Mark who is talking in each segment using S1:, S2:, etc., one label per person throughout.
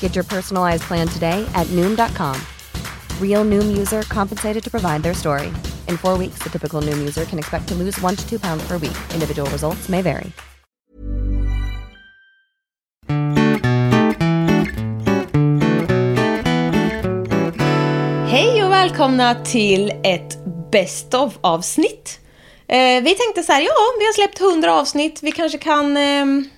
S1: Get your personalized plan today at Noom.com. Real Noom user compensated to provide their story. In four weeks, the typical Noom user can expect to lose one to two pounds per week. Individual results may vary.
S2: Hej och välkomna till ett Best of avsnitt. Eh, vi tänkte så här, ja, vi har släppt 100 avsnitt, vi kanske kan... ehm,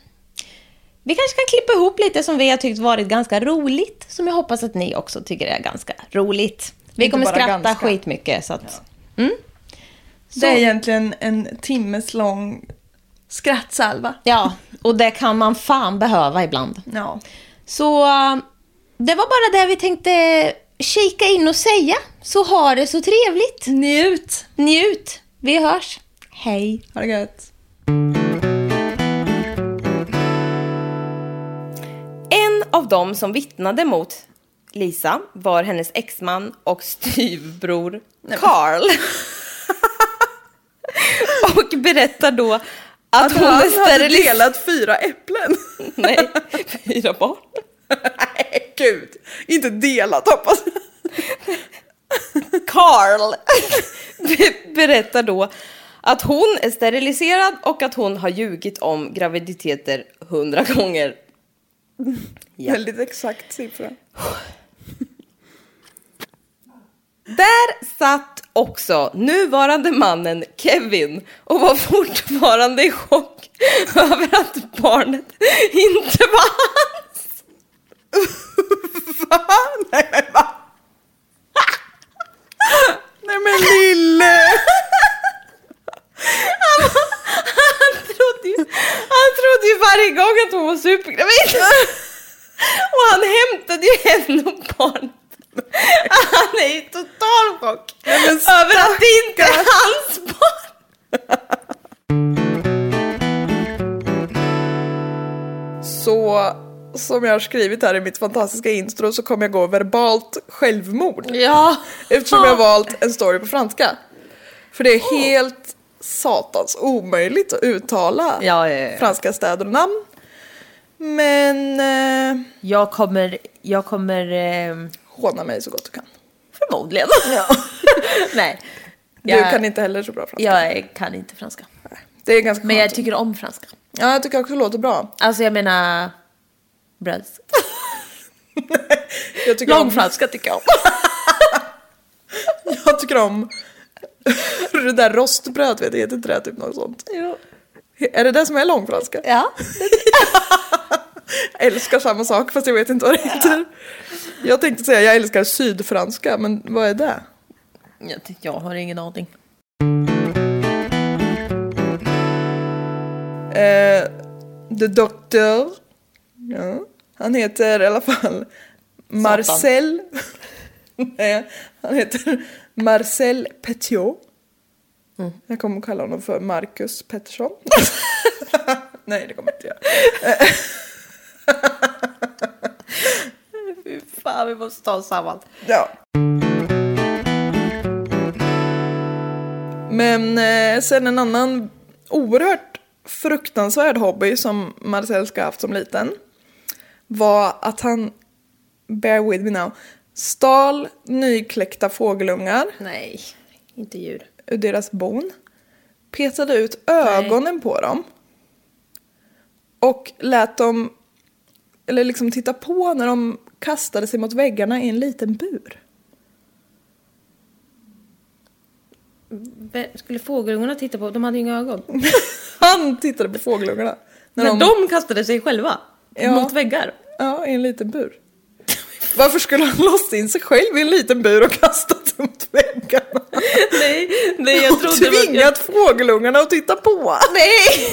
S2: vi kanske kan klippa ihop lite som vi har tyckt varit ganska roligt, som jag hoppas att ni också tycker är ganska roligt. Vi
S3: Inte
S2: kommer
S3: bara
S2: skratta
S3: ganska.
S2: skitmycket, så att...
S3: Det är egentligen en timmes lång skrattsalva.
S2: Ja, och det kan man fan behöva ibland.
S3: Ja.
S2: Så eh, det var bara det vi tänkte kika in och säga. Så ha det så trevligt. Njut! Njut! Vi hörs. Hej!
S3: Ha det gött.
S4: En av dem som vittnade mot Lisa var hennes exman och styvbror Carl. och berättar då att, hon
S3: Han
S4: är
S3: hade
S4: steriliserad.
S3: delat fyra äpplen.
S4: Nej, fyra barn.
S3: Nej, gud. Inte delat hoppas jag.
S4: Carl be- berättar då att hon är steriliserad och att hon har ljugit om graviditeter hundra gånger. Ja.
S3: Väldigt exakt siffra.
S4: Där satt också nuvarande mannen Kevin och var fortfarande i chock över att barnet inte var hans.
S3: Nej men lille!
S4: Han trodde ju, han trodde ju varje gång att hon var supergravid. Och han hämtade ju henne och barnet. Han är i total chock över att det inte är hans barn.
S3: Så som jag har skrivit här i mitt fantastiska intro så kommer jag gå verbalt självmord.
S4: Ja. Oh.
S3: Eftersom jag valt en story på franska. För det är helt satans omöjligt att uttala
S4: Ja, ja, ja.
S3: franska städer och namn. Men eh,
S4: Jag kommer, jag kommer eh,
S3: håna mig så gott du kan.
S4: förmodligen. Nej.
S3: Du kan inte heller så bra franska.
S4: Jag kan inte franska.
S3: Det är ganska
S4: Men
S3: skönt.
S4: jag tycker om franska.
S3: Ja, jag tycker också det låter bra.
S4: Alltså jag menar... Bröds.
S3: Jag tycker om,
S4: Långfranska tycker jag om.
S3: jag tycker om det där rostbröd, vet jag, heter inte det typ något sånt? Är det det som är långfranska?
S4: Ja.
S3: älskar samma sak fast jag vet inte vad det heter. Jag tänkte säga jag älskar sydfranska men vad är det?
S4: Jag, ty- jag har ingen aning.
S3: Eh, the Doctor. Ja. Han heter i alla fall Marcel. Nej, han heter Marcel Petiot. Jag kommer kalla honom för Marcus Pettersson. Nej det kommer jag inte göra.
S4: Fy fan, vi måste ta oss samman.
S3: Ja. Men eh, sen en annan oerhört fruktansvärd hobby som Marcel ska ha haft som liten var att han, bear with me now, stal nykläckta fågelungar
S4: Nej, inte djur.
S3: ur deras bon, petade ut ögonen på dem och lät dem, eller liksom titta på när de kastade sig mot väggarna i en liten bur.
S4: Be- Skulle fågelungarna titta på? De hade ju inga ögon.
S3: Han tittade på fågelungarna. När
S4: Men
S3: de,
S4: de kastade sig själva
S3: Ja.
S4: mot väggar.
S3: Ja, i en liten bur. Varför skulle han låsa in sig själv i en liten bur och kasta sig mot väggarna?
S4: Nej, nej jag
S3: och
S4: trodde...
S3: tvingat fågelungarna att titta på.
S4: Nej!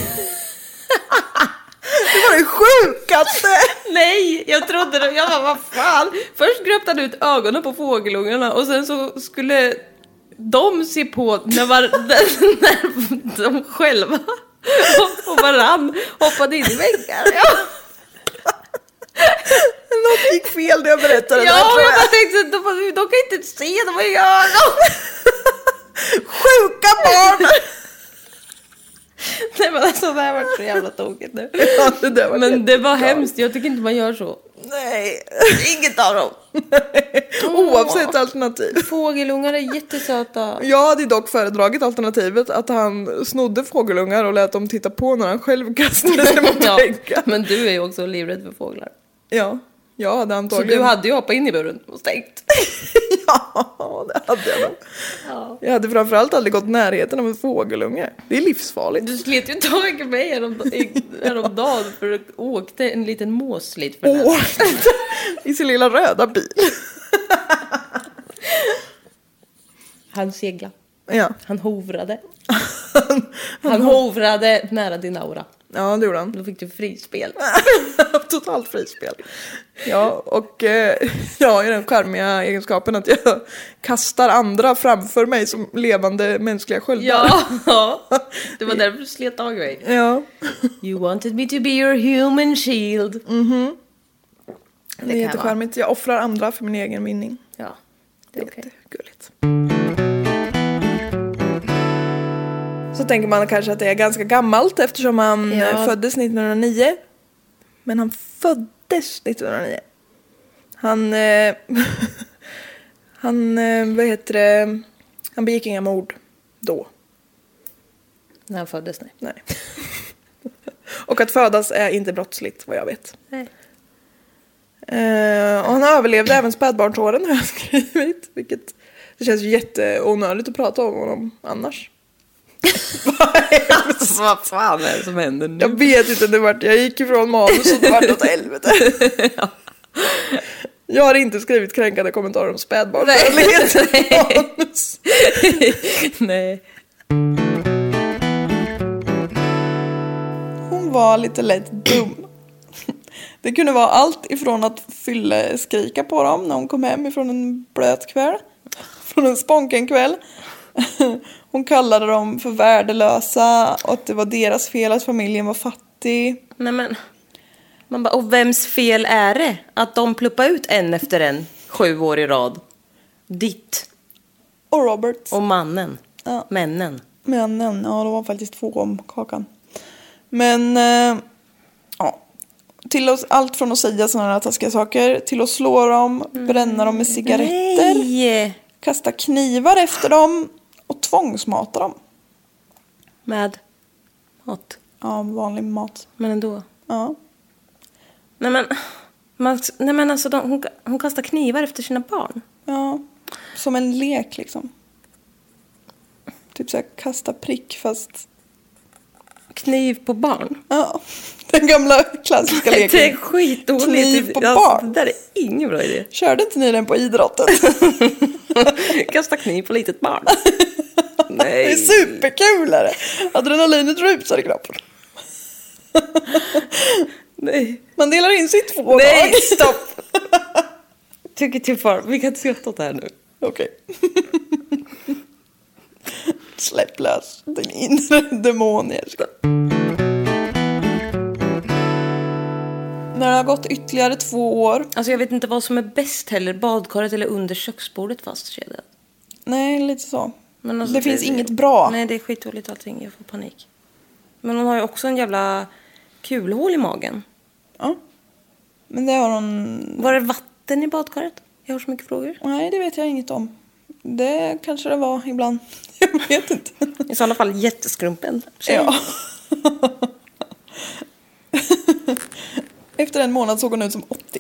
S3: Det var det sjukaste!
S4: Nej, jag trodde det. Jag bara, vad fan? Först gröpte han ut ögonen på fågelungarna och sen så skulle de se på när, var, när de själva och- och varann hoppade in i väggar. Ja,
S3: Något gick fel när jag berättade det här
S4: ja
S3: tror
S4: jag
S3: jag.
S4: bara tänkte, de, bara, de kan ju inte se, de har ju inga ögon.
S3: Sjuka barn!
S4: Nej men alltså det här var så jävla tokigt nu.
S3: Ja, det där var
S4: Men det var
S3: jättebra.
S4: hemskt, jag tycker inte man gör så.
S3: Nej.
S4: Inget av dem.
S3: Oavsett alternativ.
S4: Fågelungar är jättesöta.
S3: Jag hade dock föredragit alternativet att han snodde fågelungar och lät dem titta på när han själv kastade sig mot
S4: Ja,
S3: väggen.
S4: men du är ju också livrädd för fåglar.
S3: Ja, jag hade
S4: Så
S3: antagligen...
S4: du hade ju hoppat in i buren och stängt.
S3: Ja, det hade jag nog. Jag hade framförallt aldrig gått närheten av en fågelunge. Det är livsfarligt.
S4: Du slet ju tag i mig härom- i- häromdagen för att åkte en liten mås lite för nära.
S3: Åh, I sin lilla röda bil.
S4: Han segla.
S3: Ja,
S4: Han hovrade. Han hovrade nära din aura.
S3: ja det gjorde han.
S4: Då fick du frispel.
S3: Totalt frispel. Ja, och eh, jag har ju den charmiga egenskapen att jag kastar andra framför mig som levande mänskliga sköldar.
S4: Ja, det var därför du slet tag i mig.
S3: Ja,
S4: You wanted me to be your human shield.
S3: det är jättecharmigt. Jag offrar andra för min egen vinning.
S4: Ja, det
S3: Det är
S4: är okej.
S3: jättegulligt. Så tänker man kanske att det är ganska gammalt eftersom han
S4: Ja.
S3: eh, föddes 1909. Men han föddes 1909. Han... Eh, han, eh, vad heter det? Han begick inga mord då.
S4: När han föddes, nej.
S3: Nej. och att födas är inte brottsligt vad jag vet.
S4: Nej.
S3: Eh, och han överlevde även spädbarnsåren har jag skrivit. Vilket det känns ju jätteonödigt att prata om honom annars.
S4: Vad fan är det som händer nu?
S3: Jag vet inte, det vart, jag gick ifrån manus och det vart åt helvete. Jag har inte skrivit kränkande kommentarer om spädbarnsdödlighet i manus.
S4: nej.
S3: Hon var lite lätt dum. Det kunde vara allt ifrån att fylla skrika på dem när hon kom hem ifrån en blöt kväll. Från en sponken kväll. Hon kallade dem för värdelösa och att det var deras fel att familjen var fattig.
S4: Nej men. Man bara, och vems fel är det att de pluppar ut en efter en sju år i rad? Ditt
S3: Och Roberts.
S4: och mannen.
S3: Ja.
S4: Männen.
S3: Männen, ja det var faktiskt två om kakan. Men, eh, ja. Till oss, allt från att säga sådana här taskiga saker till att slå dem, bränna dem med cigaretter.
S4: Nej!
S3: kasta knivar efter dem och tvångsmata dem.
S4: Med mat.
S3: Ja, vanlig mat.
S4: Men ändå.
S3: Ja.
S4: Nej men. Man, nej men alltså de, hon, hon kastar knivar efter sina barn.
S3: ja. Som en lek liksom. Typ såhär kasta prick fast...
S4: Kniv på barn.
S3: Ja. Den gamla klassiska
S4: Det är
S3: leken.
S4: skitdåligt.
S3: Kniv på
S4: Alltså,
S3: barn.
S4: Det där är ingen bra idé.
S3: Körde inte ni den på idrotten?
S4: Kasta kniv på litet barn.
S3: Det är
S4: Nej.
S3: superkul är det. Adrenalinet rusar i kroppen.
S4: Nej.
S3: Man delar in sig i två
S4: Nej,
S3: lag.
S4: stopp! Tycker till far. Vi kan inte skratta åt det här nu.
S3: Okej. Släpp lös din inre demon i Erska. När det har gått ytterligare två år.
S4: Alltså jag vet inte vad som är bäst heller. Badkaret eller under köksbordet fastkedjat.
S3: Nej, lite så.
S4: Men alltså,
S3: Det finns inget bra.
S4: Nej, det är skitdåligt allting. Jag får panik. Men hon har ju också en jävla kulhål i magen.
S3: Ja. Men det har hon...
S4: Var det vatten i badkaret? Jag har så mycket frågor.
S3: Nej, det vet jag inget om. Det kanske det var ibland. Jag vet inte.
S4: I sådana fall jätteskrumpen. tjej.
S3: Ja. Efter en månad såg hon ut som 80.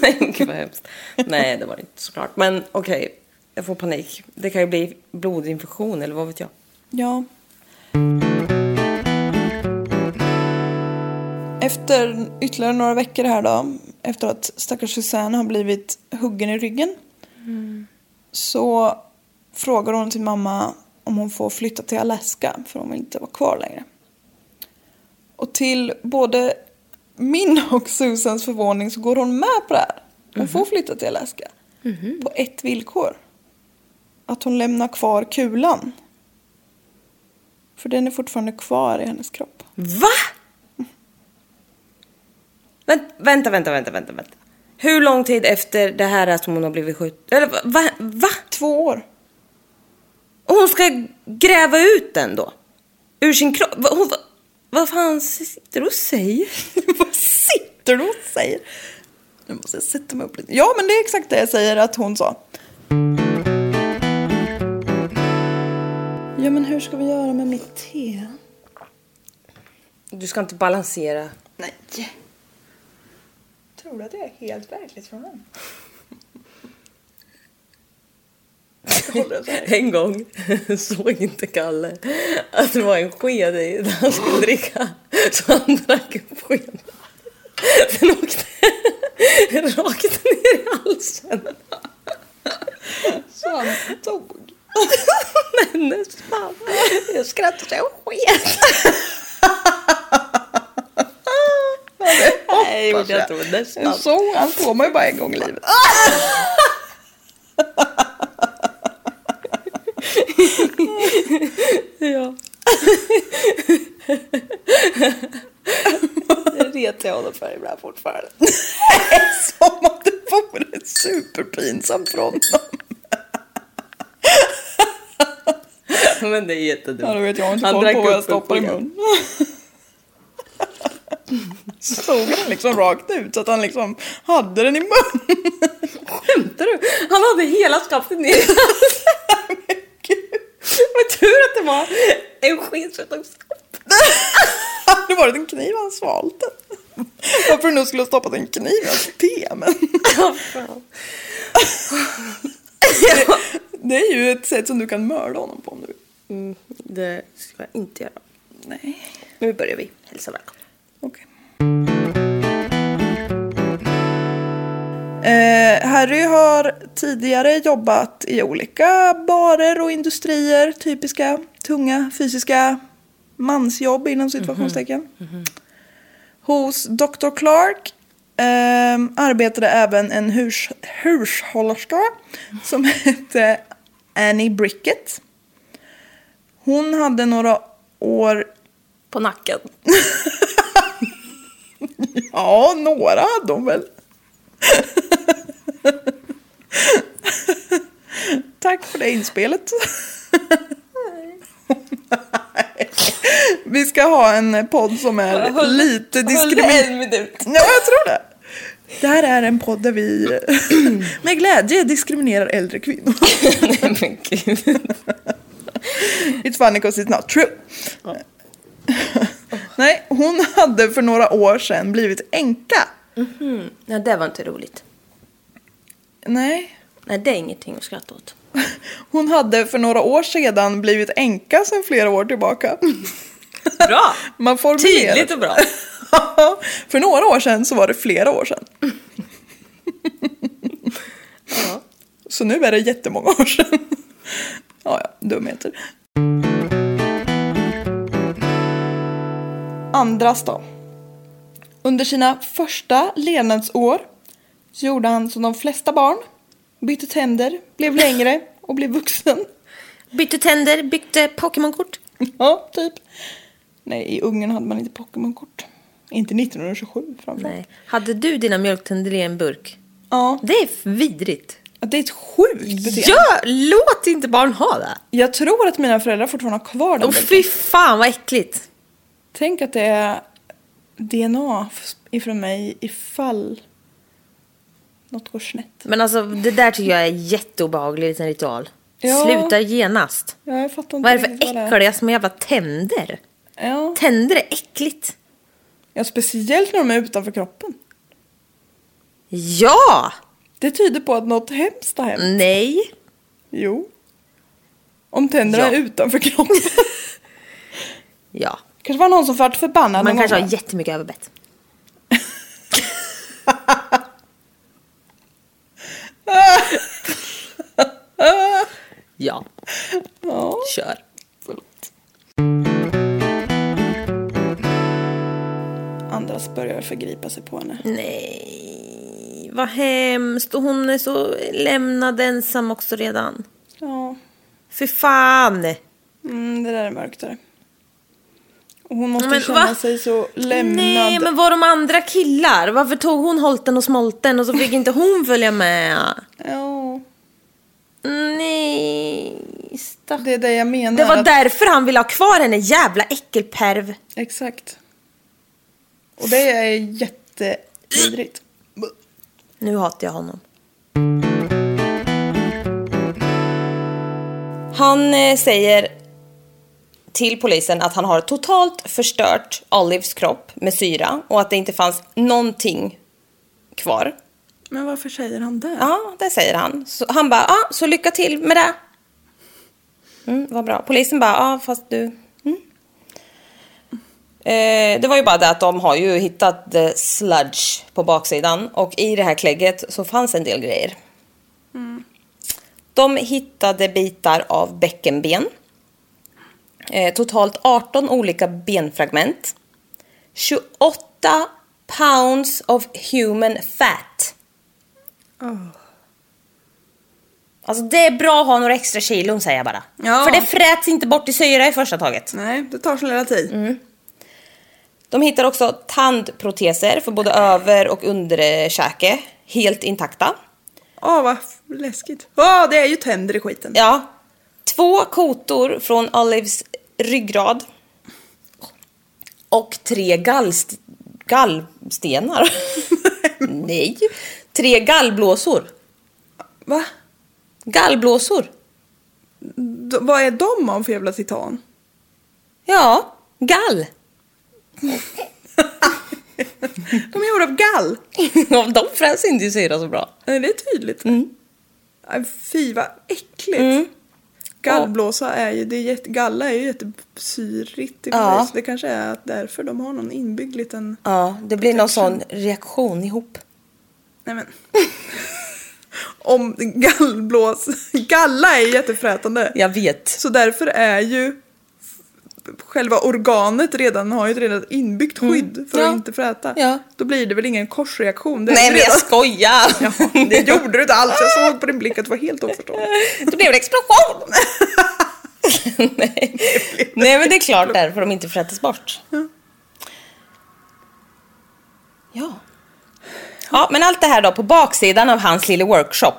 S4: Nej, gud vad hemskt. Nej, det var det inte såklart. Men okej, jag får panik. Det kan ju bli blodinfektion eller vad vet jag.
S3: Ja. Efter ytterligare några veckor här då, efter att stackars Susanne har blivit huggen i ryggen, så frågar hon sin mamma om hon får flytta till Alaska, för hon vill inte vara kvar längre. Och till både min och Susans förvåning så går hon med på det här. Hon får flytta till Alaska. På ett villkor. Att hon lämnar kvar kulan. För den är fortfarande kvar i hennes kropp.
S4: Va? Vänt, vänta, vänta, vänta, vänta, vänta. Hur lång tid efter det här är som hon har blivit skjuten? Eller va- va? va?
S3: Två år.
S4: Hon ska gräva ut den då? Ur sin kropp? Va, hon, va, vad fan sitter du och säger?
S3: Vad sitter du och säger? Nu måste jag sätta mig upp lite. Ja, men det är exakt det jag säger att hon sa. Ja, men hur ska vi göra med mitt te?
S4: Du ska inte balansera.
S3: Nej. Tror du att jag är helt verklighetsfrånvänd? Jag håller det så här.
S4: En gång såg inte Kalle att det var en sked i när han skulle dricka. Så han drack upp skeden. Den åkte rakt ner i halsen.
S3: Så han tog.
S4: Hennes mamma. Jag skrattade så jag sket. Nej,
S3: hoppas jag.
S4: jag tror nästan.
S3: Så han får man ju bara en gång i livet.
S4: Ja.
S3: Det retar jag honom för ibland fortfarande. Som om det vore superpinsamt för honom.
S4: Men det är jättedumt.
S3: Ja, då vet jag, jag har inte
S4: Han
S3: koll
S4: drack
S3: på vad jag
S4: upp
S3: stoppar i
S4: skeden.
S3: munnen. Stod den liksom rakt ut så att han liksom hade den i munnen.
S4: Skämtar du? Han hade hela skaftet ner i halsen. Vad tur att det var en sked som tog stopp.
S3: Det hade varit en kniv han svalt den. Varför du nu skulle ha stoppat en kniv i hans te men. Det är ju ett sätt som du kan mörda honom på om du vill.
S4: Mm, det ska jag inte göra.
S3: Nej.
S4: Nu börjar vi. Hälsa välkommen.
S3: Okej. Eh, Harry har tidigare jobbat i olika barer och industrier. Typiska tunga fysiska mansjobb inom situationstecken. Hos Dr. Clark ehm, arbetade även en hus- hushållerska som hette Annie Brickett. Hon hade några år
S4: På nacken.
S3: Ja, några hade hon väl. Tack för det inspelet. Nej. Vi ska ha en podd som är lite diskriminerande.
S4: minut.
S3: Ja, jag tror det. Det här är en podd där vi med glädje diskriminerar äldre kvinnor.
S4: Nej men gud.
S3: It's funny because it's not true. Nej, hon hade för några år sedan blivit änka.
S4: Nej det var inte roligt.
S3: Nej,
S4: Nej det är ingenting att skratta åt.
S3: Hon hade för några år sedan blivit änka sedan flera år tillbaka.
S4: Bra!
S3: Man får mer.
S4: Tydligt och bra.
S3: för några år sedan så var det flera år sedan.
S4: Ja.
S3: Så nu är det jättemånga år sedan. ja, ja, dumheter. Andras då. Under sina första levnadsår så gjorde han som de flesta barn. Bytte tänder, blev längre och blev vuxen.
S4: Bytte tänder, bytte Pokémonkort.
S3: Ja, typ. Nej, i Ungern hade man inte Pokémon-kort. Inte 1927 framförallt.
S4: Nej. Hade du dina mjölktänder i en burk?
S3: Ja.
S4: Det är vidrigt.
S3: Att Det är ett sjukt beteende.
S4: Ja, låt inte barn ha det.
S3: Jag tror att mina föräldrar fortfarande har kvar den
S4: Och
S3: bilden.
S4: fy fan vad äckligt.
S3: Tänk att det är DNA f- ifrån mig ifall något går snett.
S4: Men alltså det där tycker jag är jätteobehaglig liten ritual.
S3: Ja.
S4: Sluta genast.
S3: Ja, jag fattar inte
S4: Vad är det
S3: riktigt
S4: för
S3: är.
S4: äckliga små jävla tänder?
S3: Ja.
S4: Tänder är äckligt.
S3: ja, speciellt när de är utanför kroppen.
S4: Ja!
S3: Det tyder på att något hemskt har hänt.
S4: Mm. Nej.
S3: Jo. Om tänderna
S4: Ja.
S3: är utanför kroppen.
S4: Ja.
S3: kanske var någon som vart förbannad.
S4: Man
S3: när
S4: kanske
S3: var-
S4: har jättemycket överbett. ja,
S3: Ja.
S4: kör.
S3: Andras börjar förgripa sig på henne.
S4: Nej, vad hemskt. Och hon är så lämnad ensam också redan.
S3: Ja,
S4: Fy fan!
S3: mm, det där är mörkt. Där. Och hon måste
S4: Men
S3: känna
S4: va?
S3: sig så lämnad.
S4: Nej, men var de andra killar? Varför tog hon holten och smolten och så fick inte hon följa med?
S3: Ja,
S4: Nej, stack.
S3: det är det jag menar.
S4: Det var
S3: att-
S4: därför han ville ha kvar henne, jävla äckelperv.
S3: Exakt. Och det är jättevidrigt.
S4: Nu hatar jag honom. Han eh, säger till polisen att han har totalt förstört Olives kropp med syra och att det inte fanns någonting kvar.
S3: Men varför säger han det?
S4: Ja, det säger han. Så han bara, ja, så lycka till med det. Mm, vad bra. Polisen bara, ja, fast du... Mm. Eh, det var ju bara det att de har ju hittat eh, sludge på baksidan och i det här klägget så fanns en del grejer. De hittade bitar av bäckenben. Eh, totalt 18 olika benfragment. 28 pounds of human fat. Alltså det är bra att ha några extra kilon säger jag bara.
S3: Ja.
S4: För det fräts inte bort i syra i första taget.
S3: Nej, det tar sin lilla tid.
S4: Mm. De hittar också tandproteser för både över och underkäke. Helt intakta.
S3: Åh, vad f- läskigt. Åh, det är ju tänder i skiten.
S4: Ja. Två kotor från Olives ryggrad. Och tre gallst gallstenar. Nej. Tre gallblåsor.
S3: Va?
S4: Gallblåsor.
S3: D- vad är de av för jävla titan?
S4: Ja, gall.
S3: De är gjorda av gall.
S4: De fräs inte i syra så bra.
S3: Nej, det är tydligt.
S4: Mm.
S3: Aj, Fy, vad äckligt. Gallblåsa är ju, det är jätte, galla är ju jättesyrigt i
S4: Ja.
S3: ja. Det kanske är att därför de har någon inbyggd liten...
S4: Ja, det blir någon sån reaktion ihop.
S3: Nej men. Om gallblås... Galla är ju jättefrätande.
S4: Jag vet.
S3: Så därför är ju f- själva organet redan har ju ett redan inbyggt skydd för
S4: Mm. Ja.
S3: att inte fräta.
S4: Ja.
S3: Då blir det väl ingen korsreaktion. Det är
S4: Nej
S3: ju
S4: men jag
S3: redan-
S4: skojar!
S3: Ja, det gjorde du inte alls. Jag såg på din blick att du var helt oförstående.
S4: Då blev det explosion! Nej. Nej men det är klart därför de inte frättes bort. Ja. Ja men allt det här då på baksidan av hans lilla workshop.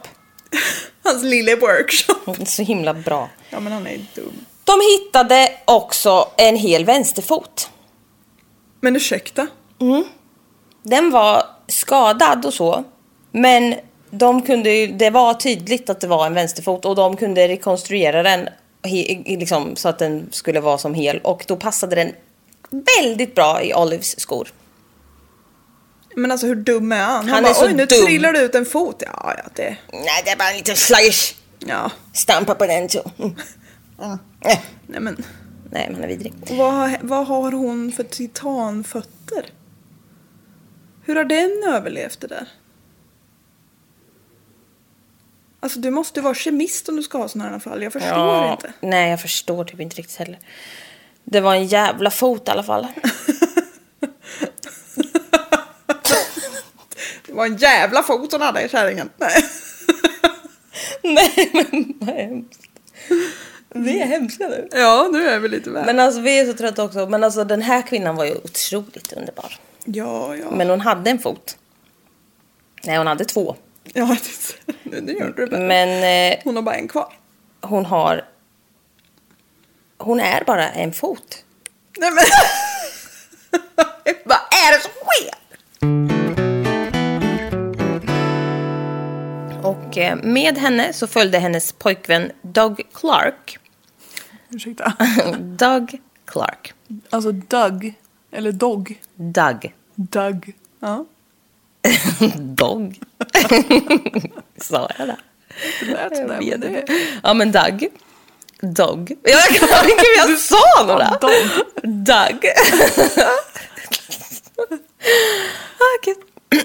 S3: Hans lille workshop.
S4: Så himla bra.
S3: Ja men han är dum.
S4: De hittade också en hel vänsterfot.
S3: Men ursäkta.
S4: Den var skadad och så. Men de kunde ju, det var tydligt att det var en vänsterfot och de kunde rekonstruera den he, liksom, så att den skulle vara som hel. Och då passade den väldigt bra i Olives skor.
S3: Men alltså hur dum är han? Han,
S4: Han är
S3: bara,
S4: så
S3: oj nu
S4: dum."
S3: trillar det ut en fot. Ja, ja det...
S4: Nej, det är bara en liten slagish.
S3: Ja.
S4: Stampa på den så. Mm. Nej,
S3: Nej men.
S4: Nej, man är vidrig.
S3: Vad, har- vad har hon för titanfötter? Hur har den överlevt det där? Alltså du måste vara kemist om du ska ha sådana här fall. Jag förstår inte.
S4: Nej, jag förstår typ inte riktigt heller. Det var en jävla fot i alla fall.
S3: Det var en jävla fot hon hade i kärringen. Nej.
S4: Nej, men vad hemskt. Vi är hemska nu.
S3: Ja, nu är vi lite väl.
S4: Men alltså vi är så trötta också. Men alltså den här kvinnan var ju otroligt underbar.
S3: Ja, ja.
S4: Men hon hade en fot. Nej, hon hade två.
S5: Ja, det, det gör du bättre.
S4: Men eh,
S5: Hon har bara en kvar.
S4: hon har... Hon är bara en fot.
S5: Nej men.
S4: Vad är det som sker? Och eh, med henne så följde hennes pojkvän Doug Clark.
S5: Ursäkta.
S4: Doug Clark.
S5: Alltså Doug. Eller Dog.
S4: Doug.
S5: Doug. Ja.
S4: Dog. Sa jag det?
S5: Det lät där,
S4: Jag
S5: men
S4: vet
S5: det.
S4: inte. Ja, men Doug. Dog. Jag kan inte hur jag sa några.
S5: Dog.
S4: Doug. Okej. Ah,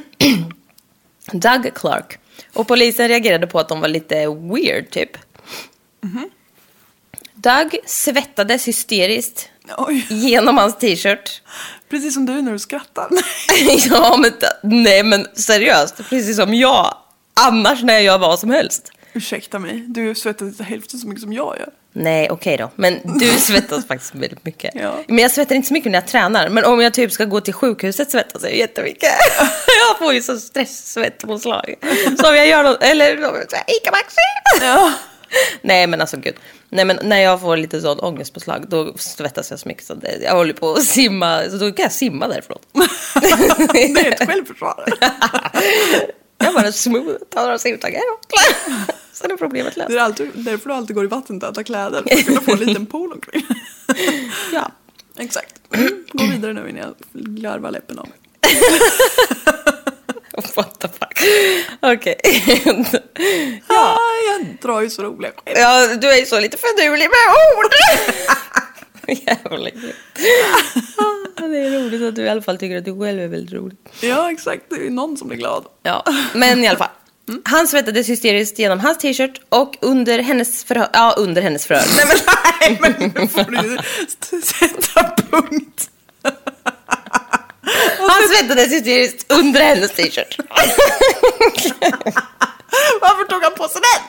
S4: Doug Clark. Och polisen reagerade på att de var lite weird, typ.
S5: Mhm.
S4: Doug svettades hysteriskt
S5: Oj.
S4: genom hans t-shirt.
S5: Precis som du när du skrattar.
S4: ja, men t- nej, men seriöst. Precis som jag. Annars när jag gör vad som helst.
S5: Ursäkta mig. Du svettas hälften så mycket som jag gör.
S4: Nej, okej då. Men du svettas faktiskt väldigt mycket.
S5: Ja.
S4: Men jag svettar inte så mycket när jag tränar. Men om jag typ ska gå till sjukhuset svettas jag jättemycket. jag får ju så stresssvettpåslag. Så om jag gör något, eller om jag säger Ica Maxi.
S5: Ja.
S4: Nej men alltså gud. Nej men när jag får lite sånt ångestpåslag då svettas jag så mycket så det, jag håller på att simma. Så då kan jag simma därifrån.
S5: Det är ett självförsvar.
S4: jag bara smooth, tar några simtaggar och sen är problemet löst.
S5: Det är alltid, därför du alltid går i vattentäta kläder. För att kunna få en liten pool omkring.
S4: Ja.
S5: Exakt. Gå vidare nu innan jag larvar läppen av mig.
S4: What the fuck. Okej.
S5: Ja. Ah, jag drar ju så roliga skämt.
S4: Ja, du är ju så lite finurlig med ord! Jävla äckligt. Ja, Det är roligt att du i alla fall tycker att du själv är väldigt rolig.
S5: Ja, exakt. Det är någon som blir glad.
S4: Ja, men i alla fall. Han svettades hysteriskt genom hans t-shirt och under hennes förhör. Ja, under hennes förhör. Nej, men,
S5: Nej, men nu får du ju st- sätta punkt.
S4: han svettades hysteriskt under hennes t-shirt.
S5: Varför tog han på sig den?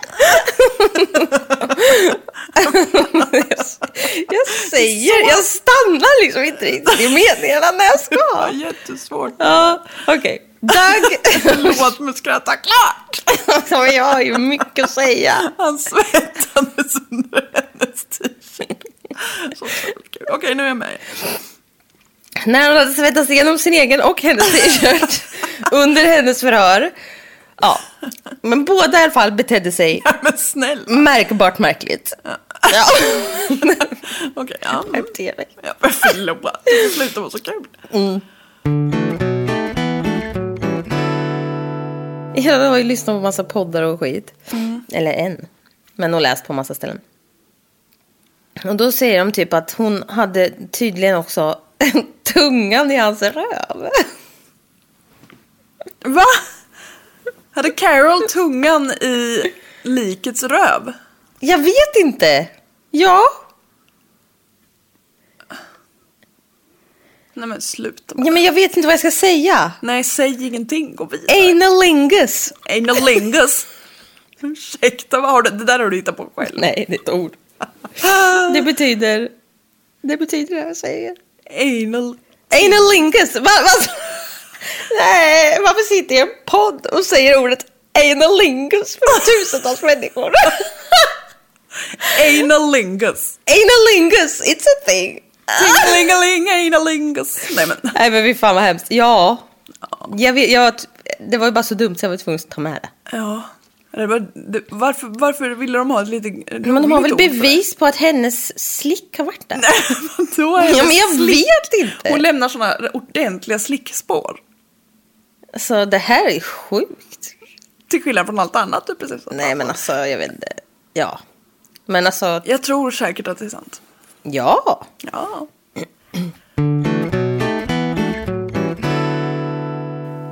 S4: Jag säger, jag stannar liksom inte riktigt i meningarna när jag
S5: Det var
S4: ska.
S5: jättesvårt.
S4: Ja, okej. Doug.
S5: Låt mig skratta klart.
S4: Alltså, men jag har ju mycket att säga.
S5: Han svettades under hennes t-shirt. Så otroligt kul. Okej, nu är jag med.
S4: När han hade svettats igenom sin egen och hennes t-shirt under hennes förhör. Ja, men båda i alla fall betedde sig
S5: Ja, men snälla.
S4: märkbart märkligt. Ja,
S5: Okej, ja. mm.
S4: skärp till dig.
S5: Ja, men förlåt. Det slutar vara så kul.
S4: Jag har ju lyssnat på massa poddar och skit. Eller en. Men och läst på massa ställen. Och då säger de typ att hon hade tydligen också tungan i hans röv.
S5: Va? Hade Carol tungan i likets röv?
S4: Jag vet inte. Ja.
S5: Nej men sluta.
S4: ja, men jag vet inte vad jag ska säga.
S5: Nej, säg ingenting. Gå vidare.
S4: Analingus.
S5: Analingus. Ursäkta, vad har du? Det där har du hittat på själv.
S4: Nej, det är ett ord. Det betyder... Det betyder det jag säger.
S5: Anal...
S4: Analingus! Va, va, nej, varför sitter jag i en podd och säger ordet analingus för tusentals människor?
S5: Analingus.
S4: analingus, it's a thing!
S5: Tingelingeling, analingus. Nej men.
S4: Nej men fy fan vad hemskt. Ja. Jag vet, jag, det var ju bara så dumt så jag var tvungen att ta med det.
S5: Ja. Det var, det, varför, varför ville de ha ett lite
S4: Men de har väl
S5: roligt ord för det?
S4: bevis på att hennes slick har varit där?
S5: Då är det
S4: Ja, men jag
S5: Alltså, slick.
S4: vet inte.
S5: Hon lämnar såna ordentliga slickspår.
S4: Så Alltså, det här är sjukt.
S5: Till skillnad från allt annat du precis sa.
S4: Nej men alltså jag vet inte. Ja. Men alltså,
S5: Jag tror säkert att det är sant.
S4: ja.
S5: Ja.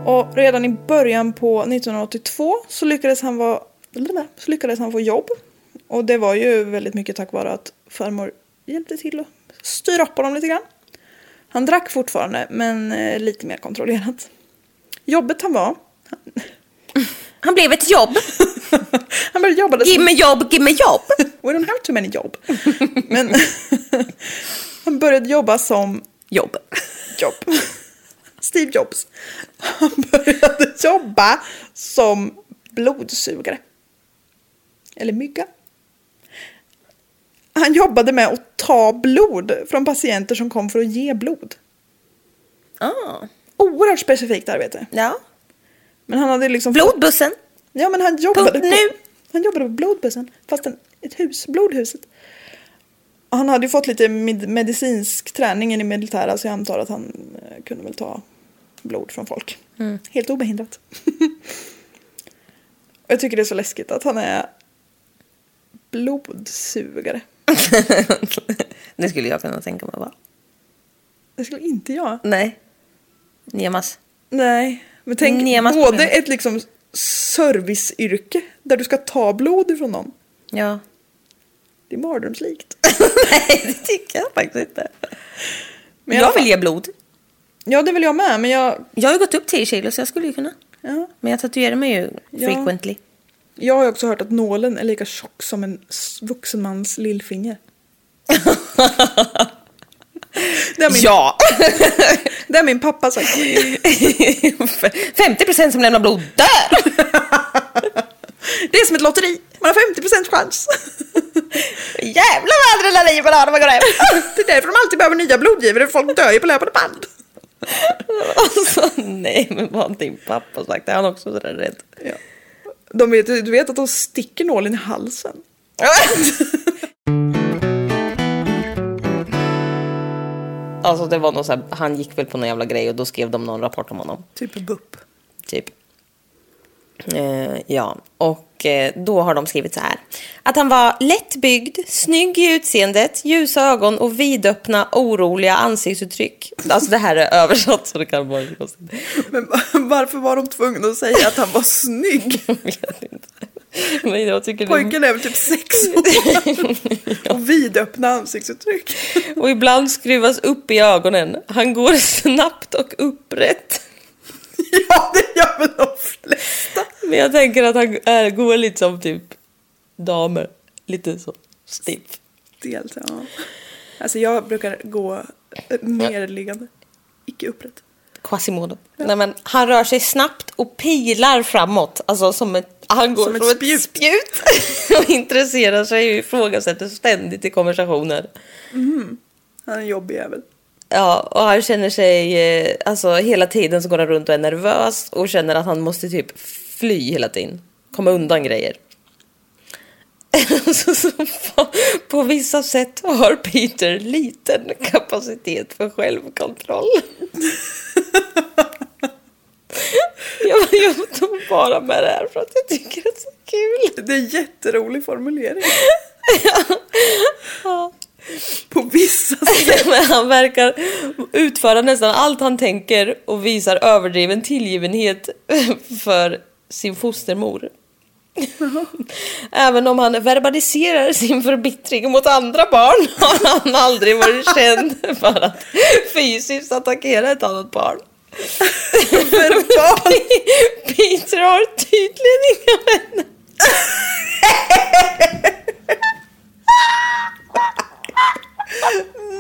S3: Och redan i början på 1982 så lyckades han, vara, så lyckades han få jobb. Och det var ju väldigt mycket tack vare att farmor hjälpte till att styra upp honom lite grann. Han drack fortfarande men eh, lite mer kontrollerat. Jobbet han var,
S4: Han blev ett jobb.
S3: han började jobba där
S4: Gimme jobb, gimme jobb.
S3: We don't have too many jobb. Men han började jobba som
S4: Jobb.
S3: jobb. Steve Jobs. Han började jobba som blodsugare. Eller mygga. Han jobbade med att ta blod från patienter som kom för att ge blod.
S4: Ah.
S3: Oerhört specifikt arbete.
S4: Ja.
S3: Men han hade liksom...
S4: Blodbussen.
S3: Ja men han jobbade
S4: Punkt
S3: på,
S4: nu.
S3: Han jobbade på blodbussen. Fast en, ett hus, blodhuset. Och han hade ju fått lite med, medicinsk träning i det militära så jag antar att han eh, kunde väl ta blod från folk.
S4: Mm.
S3: Helt obehindrat. Och jag tycker det är så läskigt att han är blodsugare.
S4: Det skulle jag kunna tänka mig vara.
S3: Det skulle inte jag.
S4: Nej. Nemas.
S3: Nej, men tänk
S4: Nemas
S3: både
S4: problem.
S3: ett liksom serviceyrke där du ska ta blod ifrån någon.
S4: Ja.
S3: Det är mardrömslikt.
S4: Nej, det tycker jag faktiskt inte.
S3: Men i alla
S4: jag vill
S3: fall-
S4: ge blod.
S3: Ja, det vill jag med, men jag...
S4: Jag har ju gått upp 10 kilo så jag skulle ju kunna.
S3: Ja.
S4: Men jag tatuerar mig ju
S3: Ja.
S4: frequently.
S3: Jag har ju också hört att nålen är lika tjock som en s- vuxen mans lillfinger. det, har min,
S4: Ja!
S3: det har min pappa sagt.
S4: 50% som lämnar blod dör!
S3: Det är som ett lotteri, man har 50% chans.
S4: Jävlar vad adrenalin man har när man går hem!
S3: det är därför de alltid behöver nya blodgivare, folk dör ju på löpande band.
S4: Alltså nej, men vad har din pappa sagt? Är han också sådär rädd?
S3: De vet, du vet att de sticker nålen i halsen.
S4: Alltså det var någon så här, han gick väl på någon jävla grej och då skrev de någon rapport om honom.
S3: Typ bupp.
S4: Typ. Eh, ja, och eh, då har de skrivit så här. Att han var lättbyggd, snygg i utseendet, ljusa ögon och vidöppna, oroliga ansiktsuttryck. Alltså det här är översatt så det kan vara lite konstigt.
S3: Men varför var de tvungna att säga att han var snygg?
S4: Jag vet inte. Men jag tycker det är
S3: Pojken är väl typ sex år och vidöppna ansiktsuttryck.
S4: och ibland skruvas upp i ögonen. Han går snabbt och upprätt.
S3: Ja, det gör väl de flesta.
S4: Men jag tänker att han är, går lite som typ damer. Lite så stiff.
S3: Dels, ja. Alltså jag brukar gå eh, nerliggande, icke upprätt.
S4: Quasimodo. Nej, men han rör sig snabbt och pilar framåt. Alltså som ett, han går
S3: Som ett
S4: som ett
S3: spjut.
S4: spjut. och intresserar sig och ifrågasätter ständigt i konversationer.
S3: Han är en jobbig jävel.
S4: Ja, och han känner sig, eh, alltså hela tiden så går han runt och är nervös och känner att han måste typ fly hela tiden. Komma undan grejer. så, så, på, på vissa sätt har Peter liten kapacitet för självkontroll. jag, jag tog bara med det här för att jag tycker det är så kul.
S3: Det är en jätterolig formulering. På vissa sätt.
S4: Men han verkar utföra nästan allt han tänker och visar överdriven tillgivenhet för sin fostermor. Även om han verbaliserar sin förbittring mot andra barn har han aldrig varit känd för att fysiskt attackera ett annat barn. Verbal. Peter har tydligen inga vänner.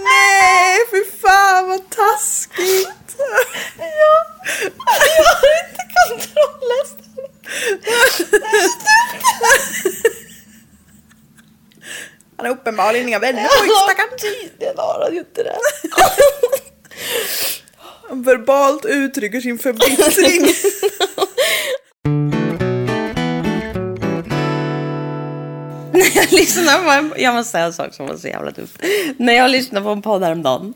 S3: Nej, fy fan vad taskigt. Ja. Alltså,
S4: Jag har inte kontroll nästan.
S3: Han har uppenbarligen inga vänner pojk,
S4: Ja,
S3: stackarn.
S4: Tydligen har han ju inte det.
S3: Han verbalt uttrycker sin förbittring.
S4: När jag lyssnar på en, jag måste säga en sak som var så jävla dumt. När jag lyssnade på en podd häromdagen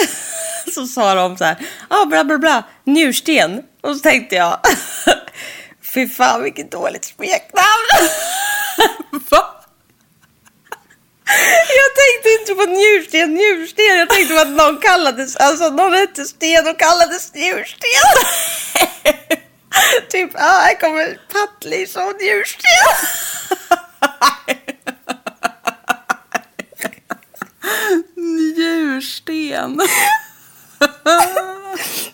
S4: så sa de så här, ah, bla bla bla, njursten. Och så tänkte jag, fy fan vilket dåligt smeknamn. Va? Jag tänkte inte på njursten, njursten. Jag tänkte på att någon kallades, alltså någon hette Sten och kallades njursten. typ, ah, här kommer Pattlis och njursten.
S3: Njursten.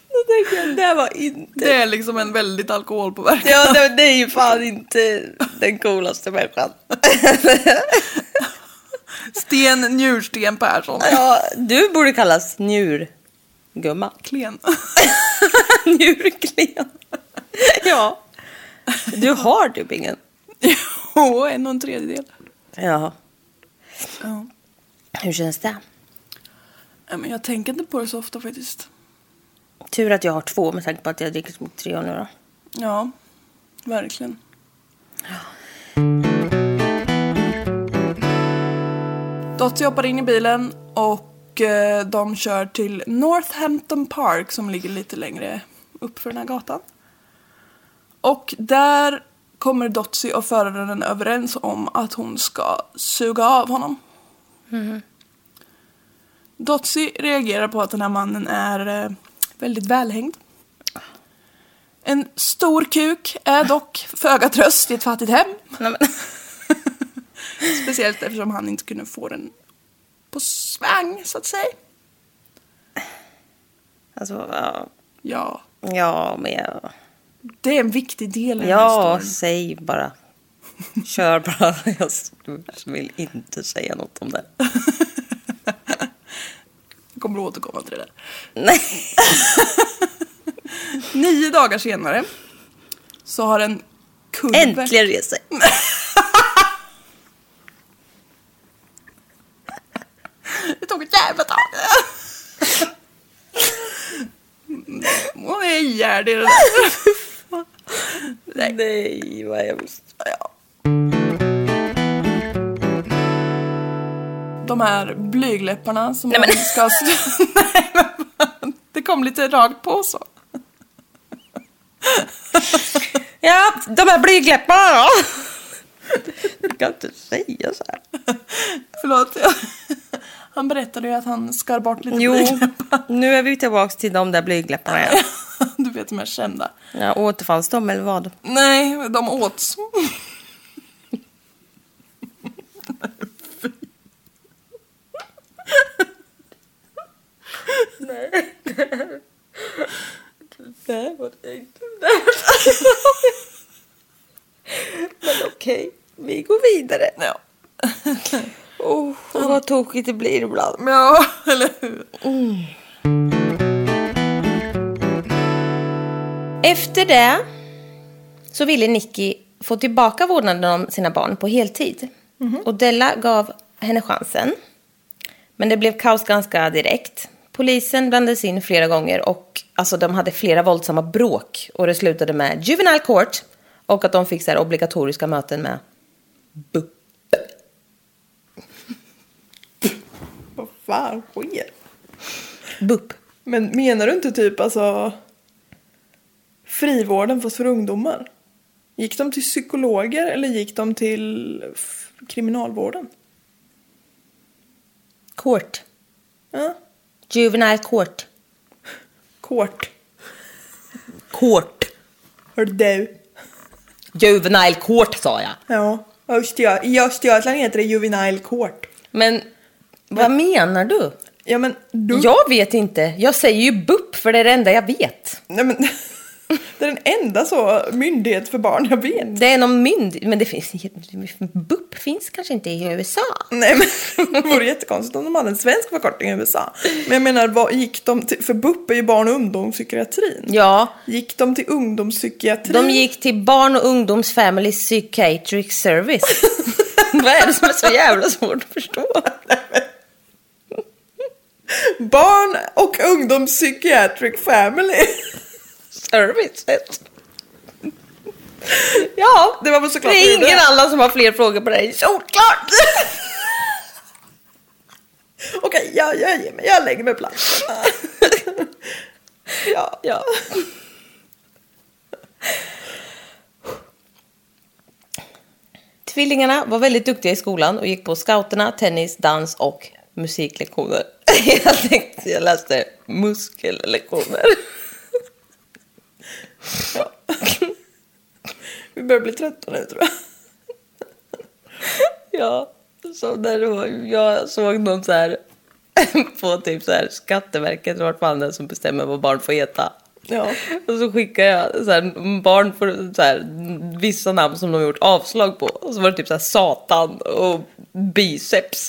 S4: Då tänkte jag, det här var inte...
S3: Det är liksom en väldigt alkoholpåverkad.
S4: Ja, det, det är ju fan inte den coolaste människan.
S3: Sten Njursten Persson.
S4: Ja, du borde kallas njurgumma.
S3: Klen.
S4: Njurklen. Ja. Du har typ ingen.
S3: Jo, en och en tredjedel.
S4: Ja.
S3: Ja.
S4: Hur känns det?
S3: Nej, men jag tänker inte på det så ofta faktiskt.
S4: Tur att jag har två med tanke på att jag dricker så mycket tre nu då.
S3: Ja, verkligen. Dottie hoppar in i bilen och eh, de kör till Northampton Park som ligger lite längre upp för den här gatan. Och där kommer Dottie och föraren överens om att hon ska suga av honom. Dotsie reagerar på att den här mannen är eh, väldigt välhängd. En stor kuk är dock föga tröst i ett fattigt hem.
S4: Nej, men.
S3: Speciellt eftersom han inte kunde få den på svang, så att säga.
S4: Alltså, ja.
S3: Ja,
S4: Ja, men jag...
S3: det är en viktig del i den här
S4: Ja,
S3: storyn.
S4: säg bara. Kör bara. Jag vill inte säga något om det.
S3: Jag kommer att återkomma till det där.
S4: Nej.
S3: Nio dagar senare så har en kurve...
S4: Äntligen reser.
S3: Det tog ett jävla tag. Hon är ihjäl i det där.
S4: Nej. Nej, vad hemskt.
S3: Ja. De här blygläpparna som man ska... Nej, men fan. Det kom lite rakt på så.
S4: Ja, de här blygläpparna då? Du kan inte säga så här.
S3: Förlåt. Han berättade ju att han skar bort lite
S4: Jo,
S3: blygdläppar.
S4: nu är vi tillbaka till de där blygläpparna igen.
S3: Du vet de här kända.
S4: Ja, återfanns de eller vad?
S3: Nej, de åts.
S4: Nej, vad tänkte Men okej, vi går vidare.
S3: Ja.
S4: Oh, vad tokigt det blir ibland. Mm.
S3: ja, eller hur?
S4: Efter det så ville Nicky få tillbaka vårdnaden om sina barn på heltid. Och Della gav henne chansen. Men det blev kaos ganska direkt. Polisen blandades in flera gånger och alltså, de hade flera våldsamma bråk. Och det slutade med juvenile court och att de fick så här, obligatoriska möten med BUP.
S5: Vad fan sker?
S4: BUP.
S5: Men menar du inte typ alltså frivården fast för ungdomar? Gick de till psykologer eller gick de till f- kriminalvården?
S4: Court.
S5: Ja,
S4: Juvenile court.
S5: kort.
S4: Court.
S5: Hör du?
S4: Juvenile court sa jag.
S5: Ja, Östergö- i Östergötland heter det juvenile court.
S4: Men vad menar du?
S5: Ja men du...
S4: Jag vet inte. Jag säger ju BUP för det är det enda jag vet.
S5: Nej, men... det är den enda så myndighet för barn jag vet.
S4: Det är någon mynd... Men det finns... BUP finns kanske inte i USA.
S5: Nej men det vore jättekonstigt om de hade en svensk förkortning i USA. Men jag menar, vad gick de till, för BUP är ju barn och ungdomspsykiatrin.
S4: Ja,
S5: Gick de till ungdomspsykiatrin?
S4: de gick till Barn och ungdoms Family Psychiatric Service. Vad är det som är så jävla svårt att förstå?
S5: Barn och ungdomspsykiatric family.
S4: Service?
S5: Ja, det var väl
S4: Det
S5: såklart
S4: är ingen
S5: vidare.
S4: annan som har fler frågor på dig. Solklart!
S5: Okej, jag, jag ger mig. Jag lägger mig platt.
S4: Ja. ja. Tvillingarna var väldigt duktiga i skolan och gick på scouterna, tennis, dans och musiklektioner. Jag tänkte jag läste muskellektioner.
S5: Vi börjar bli trötta nu tror jag.
S4: Ja, som när det var, jag såg någon så här på typ så här Skatteverket, vart fan det är som bestämmer vad barn får heta.
S5: Ja.
S4: Och så skickade jag så här, barn för så här, vissa namn som de gjort avslag på. Och så var det typ så här, Satan och biceps.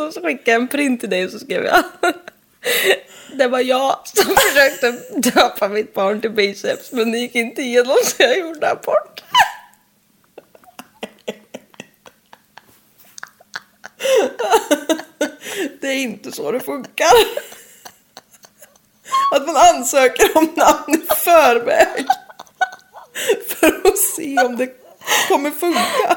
S4: och så skickade jag en print till dig och så skrev jag. Det var jag som försökte döpa mitt barn till biceps men det gick inte igenom så jag gjorde abort.
S3: Det är inte så det funkar. Att man ansöker om namn i förväg. För att se om det kommer funka.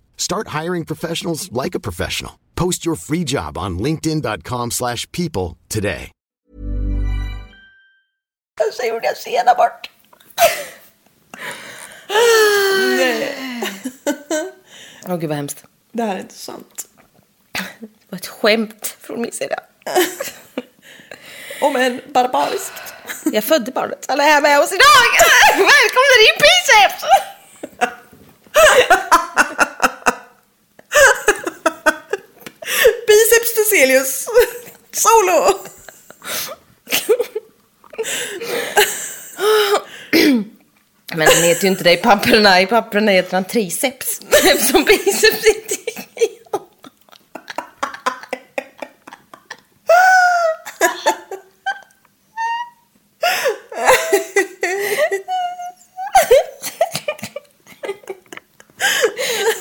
S6: Start hiring professionals like a professional. Post your free job on linkedin.com/people slash people today.
S4: Så gjorde jag sen abort. Åh gud vad hemskt.
S3: Det här är inte sant.
S4: Det var ett skämt från min sida.
S3: Om än barbariskt.
S4: Jag födde barnet. Alla är här med oss idag! Välkomna till biceps!
S3: Biceps Theselius. Solo.
S4: Men den heter ju inte det i papperna. I papperna heter han triceps. Eftersom biceps inte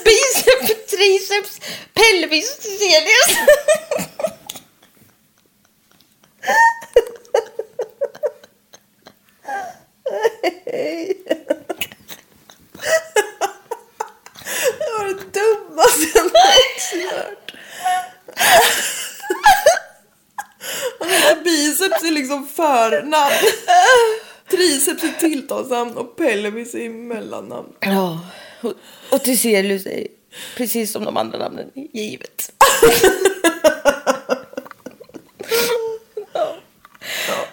S4: Biceps, triceps, pelvis, Theselius.
S3: Det var det dummaste jag någonsin hört. Och mina Biceps är liksom förnamn. Triceps är tilltalsnamn och pelvis är mellannamn.
S4: Ja, och, och Theselius är precis som de andra namnen givet.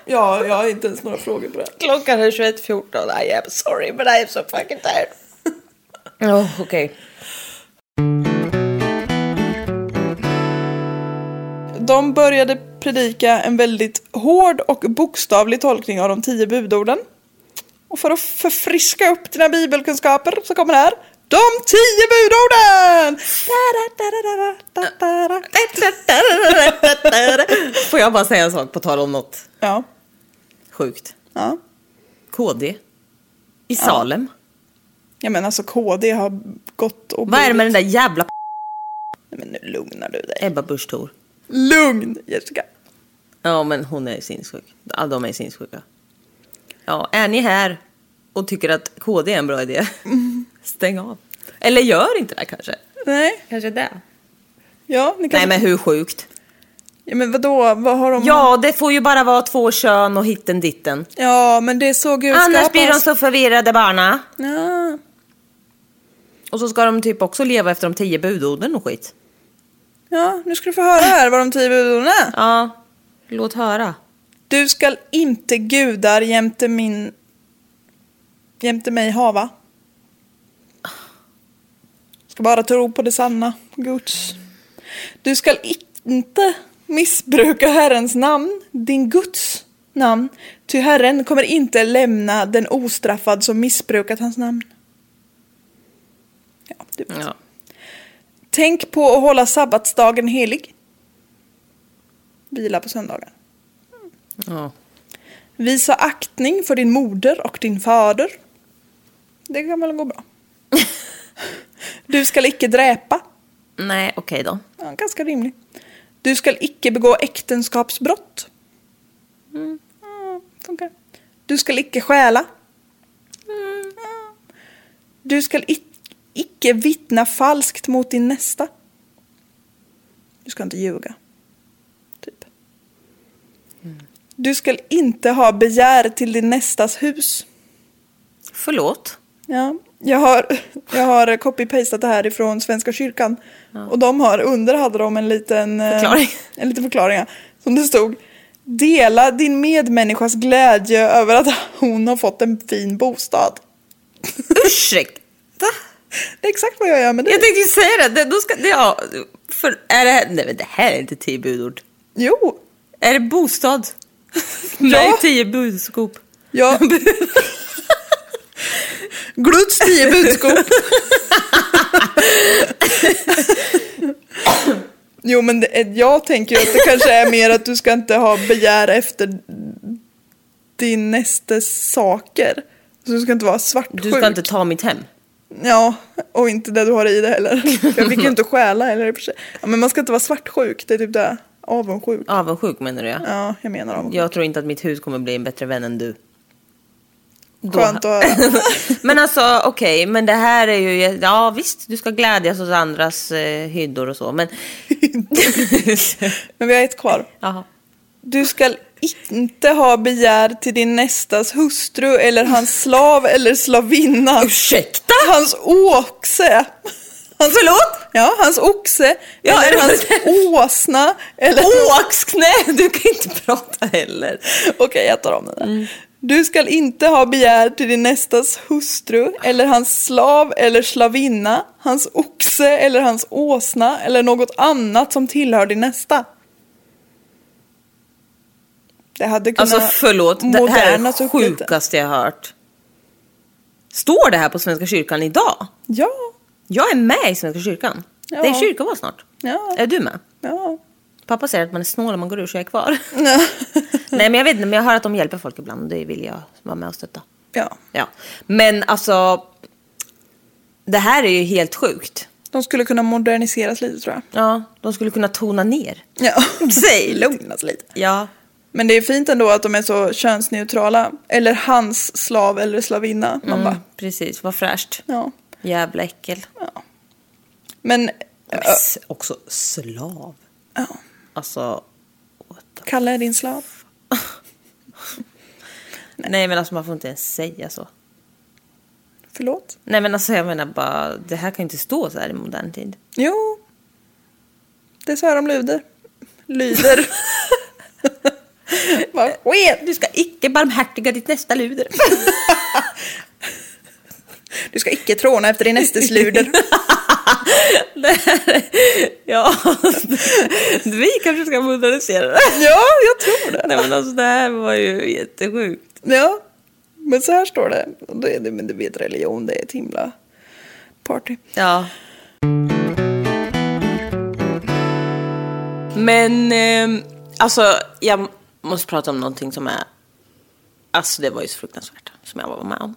S3: Ja, jag har inte ens några frågor på det.
S4: Klockan är 21.14. I am sorry but I am so fucking tired. Ja, okej.
S3: De började predika en väldigt hård och bokstavlig tolkning av de tio budorden. Och för att förfriska upp dina bibelkunskaper så kommer det här. De tio budorden! Da-da-da-da-da-da-da-da.
S4: Får jag bara säga en sak på tal om något
S3: Ja,
S4: sjukt?
S3: ja.
S4: KD. I Salem.
S3: Ja men alltså KD har gått och...
S4: Vad är det med den där jävla p-
S3: Nej, men nu lugnar du dig.
S4: Ebba Busch Thor?
S3: Lugn Jessica.
S4: Ja, men hon är sinnessjuk. Ja, de är sinnessjuka. Ja, är ni här och tycker att KD är en bra idé? Stäng av. Eller gör inte det kanske.
S3: Nej,
S4: Kanske det.
S3: ja ni kan...
S4: Nej, men hur sjukt?
S3: Ja men vadå, vad har de...
S4: Ja, det får ju bara vara två kön och hitten ditten.
S3: Ja men det är så Gud
S4: Annars
S3: skapar
S4: blir de
S3: oss.
S4: så förvirrade barna.
S3: Ja.
S4: Och så ska de typ också leva efter de tio budorden och skit.
S3: ja, nu ska du få höra här vad de tio budorden är.
S4: Ja, låt höra.
S3: Du skall inte gudar jämte min... Jämte mig hava. Ska bara tro på det sanna, Guds. Du skall inte missbruka Herrens namn, din Guds namn, ty Herren kommer inte lämna den ostraffad som missbrukat hans namn. Ja, du vet.
S4: Ja.
S3: Tänk på att hålla sabbatsdagen helig. Vila på söndagar.
S4: Ja.
S3: Visa aktning för din moder och din fader. Det kan väl gå bra. Du skall icke dräpa.
S4: Nej, okej då.
S3: Ja, ganska rimlig. Du skall icke begå äktenskapsbrott. Mm, funkar. Du skall icke stjäla.
S4: Mm.
S3: Ja. Du skall ic- icke vittna falskt mot din nästa. Du ska inte ljuga. Typ. Du skall inte ha begär till din nästas hus.
S4: Förlåt.
S3: Ja, jag har, jag har copy-pastat det här ifrån Svenska kyrkan. Och de har, under hade de en liten eh,
S4: Förklaring.
S3: En liten förklaring ja, som det stod. Dela din medmänniskas glädje över att hon har fått en fin bostad.
S4: Ursäkta?
S3: Det är exakt vad jag gör med dig.
S4: Jag tänkte ju säga det. det. Då ska, det ja, för, är det, här- nej, men det här är inte tio budord.
S3: Jo,
S4: Är det bostad? Nej, tio budskop.
S3: jag... Gluts tio budskap. Jo men det, är- jag tänker ju att det kanske är mer att du ska inte ha begär efter din nästes saker. Så du ska inte vara svartsjuk.
S4: Du ska inte ta mitt hem.
S3: Ja, och inte det du har i det heller. Jag fick ju inte stjäla heller i och för sig. Ja, men man ska inte vara svartsjuk, det är typ det. Avundsjuk.
S4: Avundsjuk menar du ja.
S3: Ja, jag menar avundsjuk.
S4: Jag tror inte att mitt hus kommer bli en bättre vän än du.
S3: Skönt att höra.
S4: Men alltså okej, men det här är ju, ja visst du ska glädjas åt andras eh, hyddor och så men...
S3: Men vi har ett kvar.
S4: Jaha.
S3: Du ska inte ha begär till din nästas hustru eller hans slav eller slavinna.
S4: Ursäkta?
S3: Hans oxe. Hans, Förlåt? Ja, hans oxe.
S4: Ja,
S3: eller
S4: är
S3: hans åsna. Eller...
S4: Åksknä! Du kan inte prata heller. Mm.
S3: Okej, jag tar om den där. Du skall inte ha begär till din nästas hustru eller hans slav eller slavinna, hans oxe eller hans åsna eller något annat som tillhör din nästa. Det hade kunnat...
S4: Alltså förlåt, det här är
S3: modernas
S4: det
S3: upp lite.
S4: sjukaste jag har hört. Står det här på Svenska kyrkan idag?
S3: Ja,
S4: Jag är med i Svenska kyrkan.
S3: Ja.
S4: Det är kyrkoval snart.
S3: Ja.
S4: Är du med?
S3: ja.
S4: Pappa säger att man är snål om man går ur så jag är kvar. Nej men jag vet inte, men jag hör att de hjälper folk ibland och det vill jag vara med och stötta.
S3: ja.
S4: Ja. Men alltså, det här är ju helt sjukt.
S3: De skulle kunna moderniseras lite tror jag.
S4: Ja, de skulle kunna tona ner.
S3: Ja.
S4: Säg lite.
S3: Lugnas lite.
S4: Ja.
S3: Men det är fint ändå att de är så könsneutrala. Eller hans slav eller slavinna.
S4: Mm.
S3: Man bara,
S4: Precis, vad fräscht.
S3: ja.
S4: Jävla äckel.
S3: Men
S4: Men
S3: ö,
S4: s- också slav.
S3: Ja.
S4: Alltså, what the...
S3: Kalle är din slav.
S4: Nej men alltså man får inte ens säga så.
S3: Förlåt?
S4: Nej men alltså jag menar bara, det här kan ju inte stå så här i modern tid.
S3: Jo. Det är så här de lyder. Lyder. Vad sker?
S4: Du ska icke barmhärtiga ditt nästa luder.
S3: Du ska icke tråna efter din nästes luder.
S4: ja, vi kanske ska modernisera det.
S3: ja, jag tror det.
S4: Nej men alltså det här var ju jättesjukt.
S3: Ja. Men så här står det. Och då är det men du vet religion, det är ett himla party.
S4: Ja. Men ehm, alltså jag måste prata om någonting som är... Alltså det var ju så fruktansvärt som jag var med om.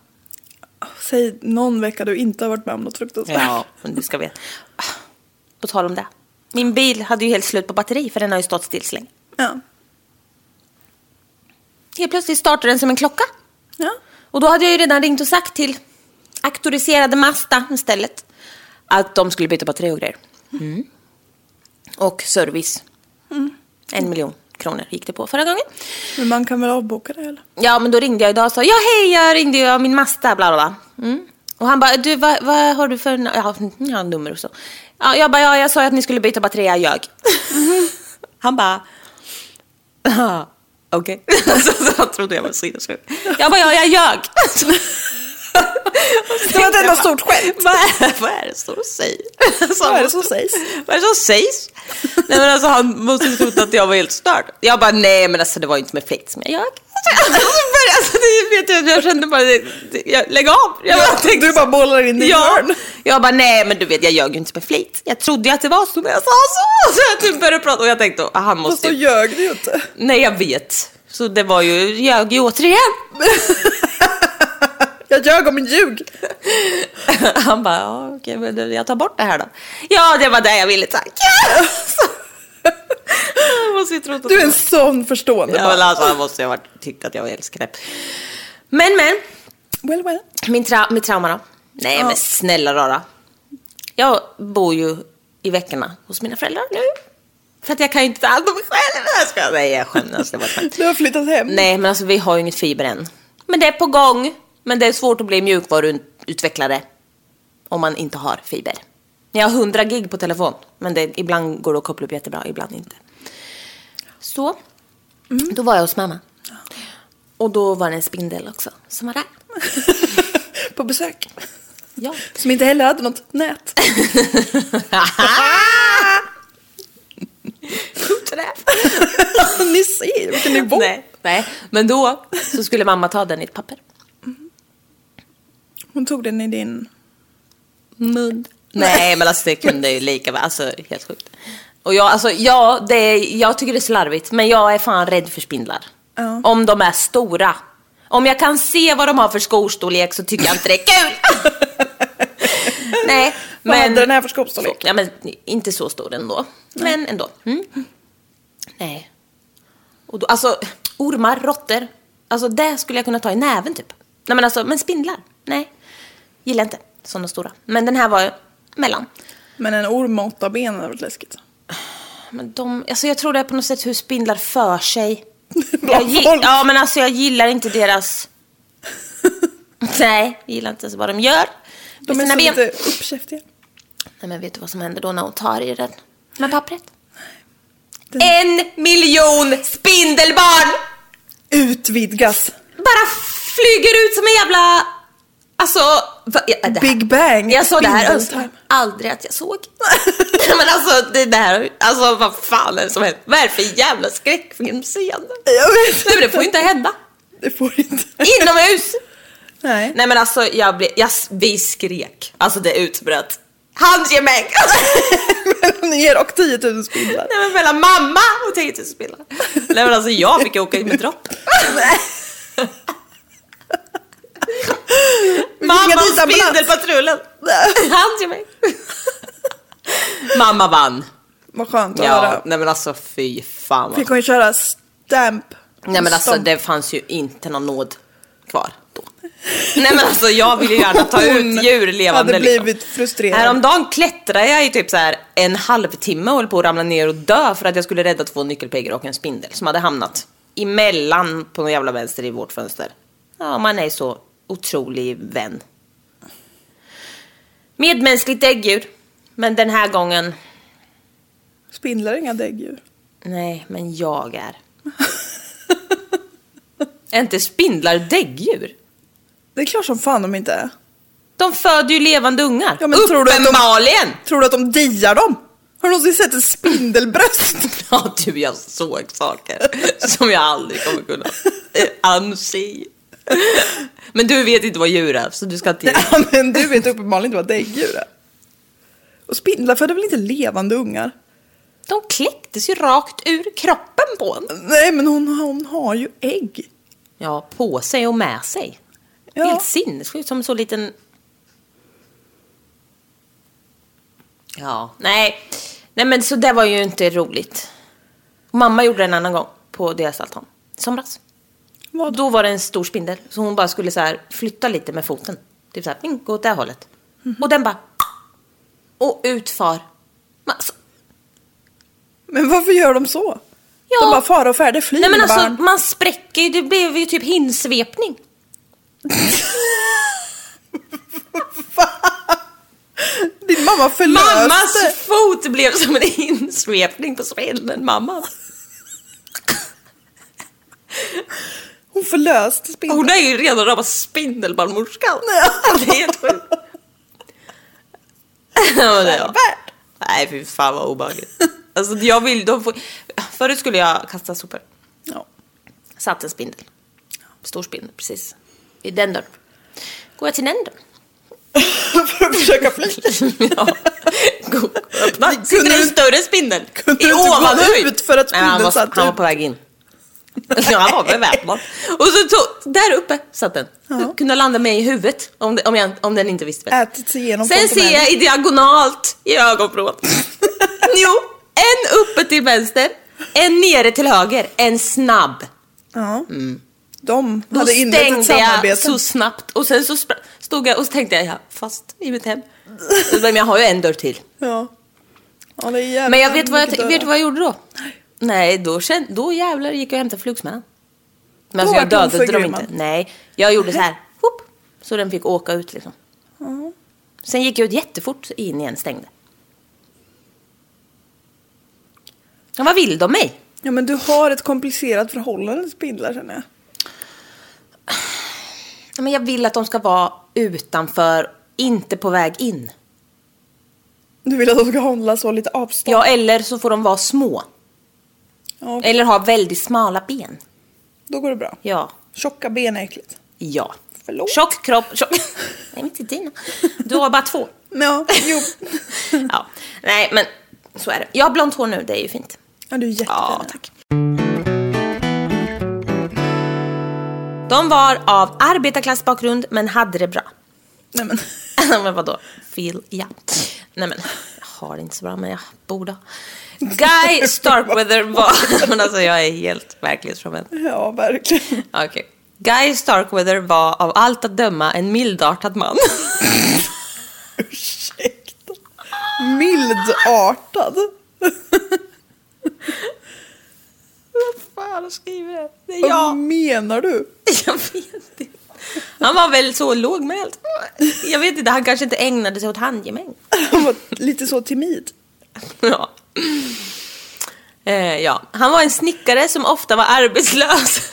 S3: Säg någon vecka du inte har varit med om något fruktansvärt.
S4: Ja, men du ska veta. På tal om det. Min bil hade ju helt slut på batteri för den har ju stått still så länge.
S3: Ja.
S4: Helt plötsligt startade den som en klocka.
S3: Ja.
S4: Och då hade jag ju redan ringt och sagt till auktoriserade Mazda istället att de skulle byta batteri och grejer. Och service. En miljon kronor gick det på förra gången.
S3: Men man kan väl avboka det eller?
S4: Ja, men då ringde jag idag och sa ja hej, jag ringde ju av min Mazda, bla bla bla. Mm. Och han bara, du vad, vad har du för n- ja, mm, ja, nummer och så. Ja, jag bara, ja jag sa ju att ni skulle byta batteri, jag ljög. Han bara, "Ah, okej. så, så han trodde jag var sinnessjuk. Jag bara, ja jag ljög.
S3: Det var ett enda stort skämt.
S4: Vad är, vad är det som sägs? Alltså,
S3: Vad är det
S4: måste-
S3: som sägs?
S4: Vad är det som sägs? Nej men alltså han måste ju trott att jag var helt störd. Jag bara nej men alltså det var ju inte med flit som jag gör. Alltså, men, alltså, det vet jag, jag kände bara, det, det, jag, lägg av. Jag bara, tänkte-
S3: Du bara bollar in i ett
S4: ja.
S3: hörn.
S4: Jag bara nej men du vet jag ljög ju inte med flit. Jag trodde ju att det var så men jag sa så. Så jag typ började prata och jag tänkte ah, han
S3: Fast
S4: måste
S3: då
S4: ju,
S3: ljög du ju inte.
S4: nej jag vet. Så det var ju, ljög ju återigen.
S3: Jag ljög om en ljug.
S4: Han bara ja, okej men du, jag tar bort det här då. Ja det var det jag ville tack. Han måste ju trott att
S3: Du är en sån förstående.
S4: Ja,
S3: bara.
S4: men alltså, han måste ju ha varit- tyckt att jag var helt skräp. Men, men.
S3: Well, well.
S4: Min tra- mitt trauma då? Nej, men snälla rara. Jag bor ju i veckorna hos mina föräldrar nu. För att jag kan ju inte ta hand om mig själv. Jag skojar. Nej, jag skäms. Det var ett skämt.
S3: Du har flyttat hem.
S4: Nej, men alltså vi har ju inget fiber än. Men det är på gång. Men det är svårt att bli mjukvaruutvecklare om man inte har fiber. Jag har 100 gig på telefon, men det, ibland går det att koppla upp jättebra, ibland inte. Så, då var jag hos mamma. Och då var det en spindel också som var där.
S3: På besök.
S4: Ja.
S3: Som inte heller hade något nät.
S4: Gjorde det?
S3: Ni ser vilken nivå.
S4: Nej, nej, men då så skulle mamma ta den i ett papper.
S3: Hon tog den i din...
S4: mun. Nej, men alltså det kunde ju lika väl. Alltså helt sjukt. Och jag, alltså, ja, det är, jag tycker det är slarvigt, men jag är fan rädd för spindlar.
S3: Ja.
S4: Om de är stora. Om jag kan se vad de har för skostorlek så tycker jag inte det är kul. Nej,
S3: Vad
S4: men...
S3: hade den här för skopstorlek?
S4: Ja, men inte så stor ändå. Men ändå. Mm. Nej. Och då, alltså, ormar, råttor. Alltså det skulle jag kunna ta i näven typ. Nej men alltså, men spindlar. Nej. Gillar inte sådana stora. Men den här var ju mellan.
S3: Men en orm med åtta ben hade varit läskigt.
S4: Men de, alltså jag tror det är på något sätt hur spindlar för sig.
S3: Bland
S4: Jag gi-
S3: folk.
S4: ja men alltså jag gillar inte deras... Nej, jag gillar inte ens vad de gör. med
S3: De är
S4: sina
S3: så
S4: ben.
S3: lite uppkäftiga.
S4: Nej men vet du vad som händer då när hon tar i den? Med pappret?
S3: Den-
S4: En miljon spindelbarn!
S3: Utvidgas.
S4: Bara flyger ut som en jävla... Alltså... va- ja, det här-
S3: Big bang.
S4: Jag sa det här
S3: Spindeltime.
S4: önskar jag aldrig att jag såg. Nej, men alltså det där, alltså vad fan är det som händer? Vad är det för jävla skräckfilmscener?
S3: Jag vet
S4: Nej men det får ju inte hända.
S3: Det får inte.
S4: Inomhus!
S3: Nej.
S4: Nej men alltså jag blev, jag, vi skrek. Alltså det utbröt. Handgemäng! Alltså.
S3: Ner och 10 000 spindlar.
S4: Nej men mellan mamma och 10 000 spindlar. Nej men alltså jag fick ju åka in med dropp. mamma
S3: dit
S4: och
S3: ambulans.
S4: spindelpatrullen. Han till mig. mamma vann.
S3: Vad skönt att
S4: Ja,
S3: höra.
S4: nej men alltså fy fan.
S3: Fick
S4: Vad.
S3: hon ju köra stamp.
S4: Nej men alltså
S3: Stomp.
S4: det fanns ju inte någon nåd kvar då. Nej men alltså jag vill ju gärna ta ut djur levande liksom.
S3: hade blivit frustrerad.
S4: Häromdagen klättrade jag i typ så här en halvtimme och höll på att ramla ner och dö för att jag skulle rädda två nyckelpigor och en spindel som hade hamnat emellan på någon jävla vänster i vårt fönster. Ja, man är så otrolig vän. Medmänskligt däggdjur. Men den här gången,
S3: Spindlar är inga däggdjur.
S4: nej, men jag är. är inte spindlar däggdjur?
S3: Det är klart som fan de inte är.
S4: De föder ju levande ungar.
S3: Ja, men tror du att de-
S4: Uppenbarligen!
S3: Tror du att de diar dem? Har du någonsin sett ett spindelbröst?
S4: Ja, du, jag såg saker som jag aldrig kommer kunna eh, anse. Men du vet inte vad djur är, så du ska inte...
S3: Ja, men du vet uppenbarligen inte vad däggdjur är. Och spindlar föder väl inte levande ungar?
S4: De kläcktes ju rakt ur kroppen på en.
S3: Nej, men hon, hon har ju ägg.
S4: Ja, på sig och med sig.
S3: Ja.
S4: Helt sinnessjukt, som en så liten... Ja, nej. Nej, men så det var ju inte roligt. Mamma gjorde det en annan gång på deras altan. I somras.
S3: Vad?
S4: Då var det en stor spindel, så hon bara skulle så här flytta lite med foten. Typ så här, ping, gå åt det här hållet.
S3: Mhm.
S4: Och den bara... Och utfar. Men Alltså,
S3: Men varför gör de så?
S4: ja.
S3: De bara far och färde, fly
S4: Nej men
S3: mina
S4: alltså,
S3: barn.
S4: man spräcker ju, det blev ju typ hinsvepning.
S3: Din mamma förlöste.
S4: Mammas fot blev som en insvepning på spindeln, mamma.
S3: Hon
S5: förlöst spindel.
S4: Hon är ju redan rama spindelbarnmorskan. Det är helt sjukt. Ja, men det är jag. Nej fy fan vad obehagligt. Alltså jag vill, de får... Förut skulle jag kasta sopor.
S3: Ja.
S4: Satt en spindel. Stor spindel, precis. I den dörren. Går jag till den dörren?
S5: För att försöka fly.
S4: ja. Go- Öppna. Sitter
S5: Kunde
S4: en
S5: du-
S4: större spindel.
S5: kunde
S4: I
S5: du inte gå
S4: ovanhöjd.
S5: ut för att
S4: Nej, han
S5: spindeln
S4: var,
S5: satt
S4: Han var
S5: ut?
S4: på väg in. Ja, han var beväpnad. Och så tog, där uppe satt den. Kunde landa mig i huvudet om, det, om, jag, om den inte visste bättre.
S5: Ätit sig igenom
S4: Sen ser jag i diagonalt i ögonvrån. jo, en uppe till vänster, en nere till höger, en snabb.
S3: Ja. De
S4: Då
S3: hade inlett ett
S4: stängde jag
S3: samarbete.
S4: så snabbt och sen så spra- stod jag och så tänkte jag, jag är fast i mitt hem. Men jag har ju en dörr till.
S3: Ja. Ja, det är jävligt
S4: Men jag vet vad jag,
S3: mycket
S4: t- vet
S3: döda.
S4: vad jag gjorde då? Nej, då, känn- då jävlar gick jag och hämtade flugsmällan. Men alltså
S3: Då
S4: jag
S3: vart hon
S4: dödade dem
S3: förgrymmad.
S4: inte. Nej, jag gjorde så här. Hopp, så den fick åka ut liksom. Sen gick jag ut jättefort in igen, stängde. Ja, vad vill de mig?
S3: Ja men du har ett komplicerat förhållande till spindlar känner jag.
S4: Ja, Men jag vill att de ska vara utanför, inte på väg in.
S3: Du vill att de ska hålla så lite avstånd.
S4: Ja, eller så får de vara små.
S3: Ja, okej.
S4: Eller ha väldigt smala ben.
S3: Då går det bra.
S4: Ja.
S3: Tjocka ben är äckligt.
S4: Ja.
S3: Förlåt.
S4: Tjock kropp, tjock... Nej, men inte dina. Du har bara två.
S3: Ja, jo.
S4: Ja. Nej, men så är det. Jag har blont hår nu, det är ju fint.
S3: Ja, du är jättefin.
S4: Ja, tack. De var av arbetarklassbakgrund men hade det bra.
S3: Nej men.
S4: men vadå? Feel, ja. Nej men, jag har det inte så bra men jag borde ha. Guy Starkweather var... men alltså jag är helt verklighetsfrånvänd.
S3: Ja, verkligen.
S4: Okej. Guy Starkweather var av allt att döma en mildartad man.
S3: Ursäkta. Mildartad.
S4: Vad fan skriver det? Det är
S3: Vad
S4: jag.
S3: menar du?
S4: Jag vet inte. Han var väl så lågmäld. Jag vet inte, han kanske inte ägnade sig åt handgemäng.
S3: Han var lite så timid.
S4: Ja. Eh, ja. Han var en snickare som ofta var arbetslös.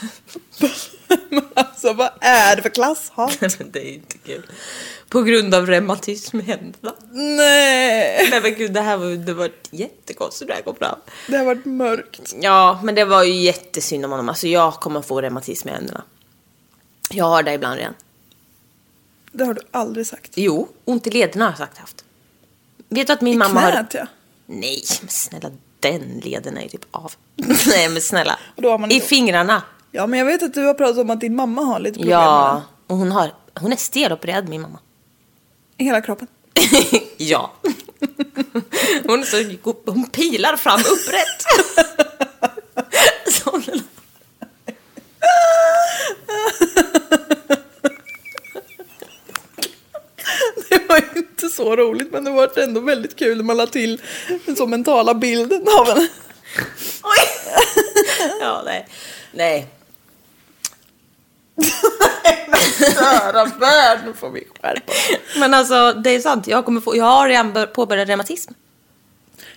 S3: Men alltså vad är det för klasshat?
S4: Men det är inte kul. På grund av reumatism i händerna.
S3: Nej.
S4: Nej men gud, det här var, det var jättekonstigt när jag kom fram.
S3: Det har varit mörkt.
S4: Ja, men det var ju jättesynd om honom. Alltså jag kommer få reumatism i händerna. Jag har det ibland redan.
S3: Det har du aldrig sagt.
S4: Jo, ont i lederna har jag sagt haft. Vet du att min mamma har...
S3: Knät ja.
S4: Nej, men snälla den leden är ju typ av. Nej men snälla.
S3: Och då har man
S4: I
S3: inte-
S4: fingrarna.
S3: Ja men jag vet att du har pratat om att din mamma har lite problem med
S4: Ja,
S3: den.
S4: och hon, har, hon är stelopererad min mamma.
S3: I hela kroppen.
S4: ja. Hon, är så, hon pilar fram upprätt. Så hon-
S3: Det var ju inte så roligt men det var ändå väldigt kul när man la till den så mentala bilden av henne.
S4: Oj! ja, nej. Nej.
S3: Kära värld, nu får vi skärpa oss.
S4: Men alltså, det är sant. Jag, kommer få, jag har redan bör- påbörjat reumatism.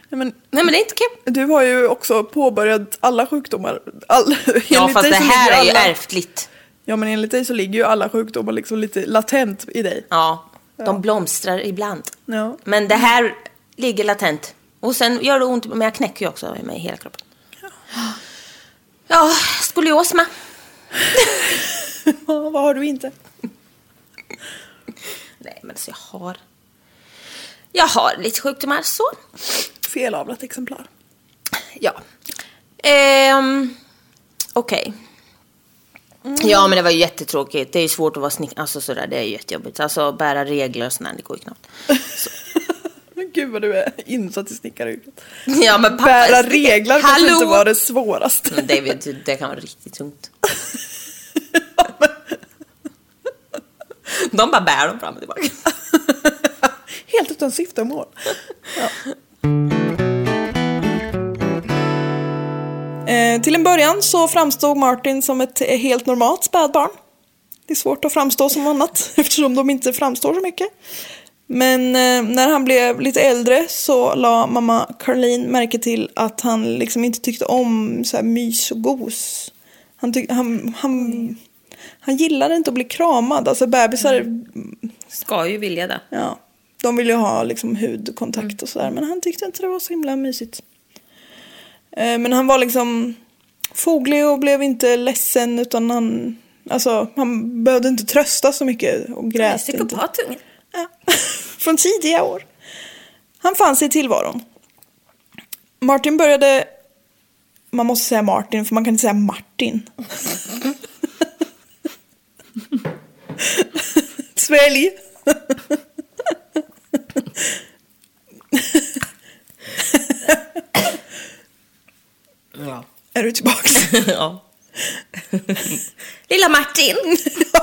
S3: Nej, men
S4: Nej, men det är inte kul.
S3: du har ju också påbörjat alla sjukdomar. All,
S4: Ja,
S3: enligt
S4: fast
S3: dig
S4: det
S3: så
S4: här är
S3: ligger
S4: ju
S3: alla-
S4: ärftligt.
S3: Ja men enligt dig så ligger ju alla sjukdomar liksom lite latent i dig.
S4: Ja, de blomstrar ibland.
S3: Ja.
S4: Men det här ligger latent. Och sen gör det ont, men jag knäcker ju också i mig hela kroppen. Ja, skolios med.
S3: Ja, vad har du inte?
S4: Nej, men alltså jag har... Jag har lite sjukdomar, så.
S3: Felavlat exemplar.
S4: Ja. Ehm, Okej. Ja, men det var ju jättetråkigt. Det är ju svårt att vara snick... Alltså sådär, det är ju jättejobbigt. Alltså bära regler och sånt där, det går ju knappt.
S3: Gud vad du är insatt i snickaryrket.
S4: Ja, men pappa...
S3: Bära reglar kanske
S4: Hallå! Mm,
S3: inte var det svåraste.
S4: Det, vet- det kan vara riktigt tungt. De bara bär dem fram och tillbaka.
S3: Helt utan syfte och mål.
S7: Eh, till en början så framstod Martin som ett eh, helt normalt spädbarn.
S3: Det är svårt att framstå som annat eftersom de inte framstår så mycket. Men eh, när han blev lite äldre så la mamma Caroline märke till att han liksom inte tyckte om så här mys och gos. Han, tyck- han, han Han gillar inte att bli kramad. Alltså bebisar,
S4: Ska ju vilja det.
S3: ja, de vill ju ha liksom hudkontakt och sådär. Men han tyckte inte det var så himla mysigt. Eh, Men han var liksom foglig och blev inte ledsen utan han, alltså, han behövde inte trösta så mycket
S4: Jag
S3: och
S4: är
S3: grät inte.
S4: psykopatungen.
S3: Ja. Från tidiga år. Han fann sig i tillvaron. Martin började... Man måste säga Martin, för man kan inte säga Martin. Svälj!
S4: Ja.
S3: Är du tillbaka?
S4: ja. Lilla Martin.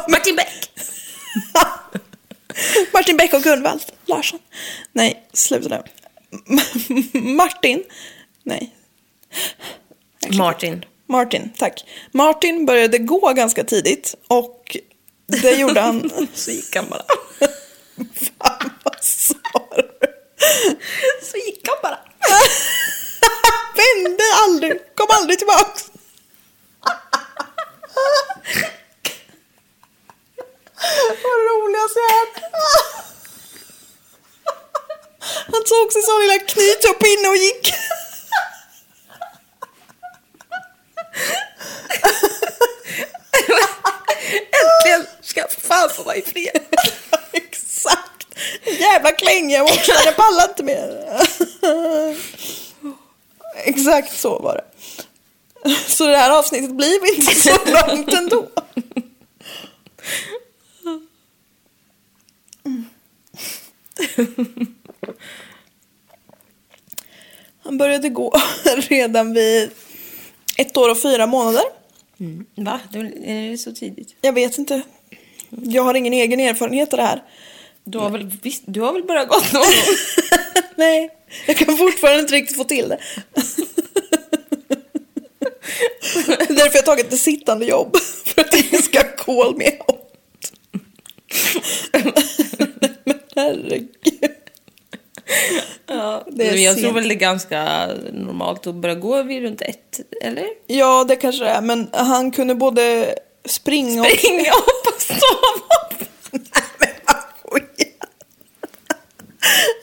S4: Martin Beck.
S3: Martin Beck och Gunvald Larsson. Nej, sluta nu. Martin. Nej,
S4: Martin.
S3: Martin, tack. Martin började gå ganska tidigt och det gjorde han...
S4: Så gick han bara.
S3: Fan vad sa du?
S4: Så gick han bara.
S3: Vände aldrig, kom aldrig tillbaks. Vad roligast jag hört. Han tog sin sån lilla knyttuppinne och gick.
S4: Äntligen ska jag fan få vara i fred.
S3: Exakt. Jävla klänga jag också, jag pallar inte mer. Exakt så var det. Så det här avsnittet blev inte så långt ändå. Mm. Han började gå redan vid ett år och fyra månader.
S4: Mm. Va? Då är det så tidigt?
S3: Jag vet inte. Jag har ingen egen erfarenhet av det här.
S4: Du har väl, visst, du har väl börjat gått någon gång?
S3: Nej, jag kan fortfarande inte riktigt få till det. Därför har jag tagit ett sittande jobb. För att ingen ska call me out. Men herregud.
S4: Ja,
S3: det är
S4: men jag tror
S3: sent.
S4: väl det är ganska normalt att börja gå vid runt ett, eller?
S3: Ja, det kanske det är. Men han kunde både springa och...
S4: Ringa upp och sova upp.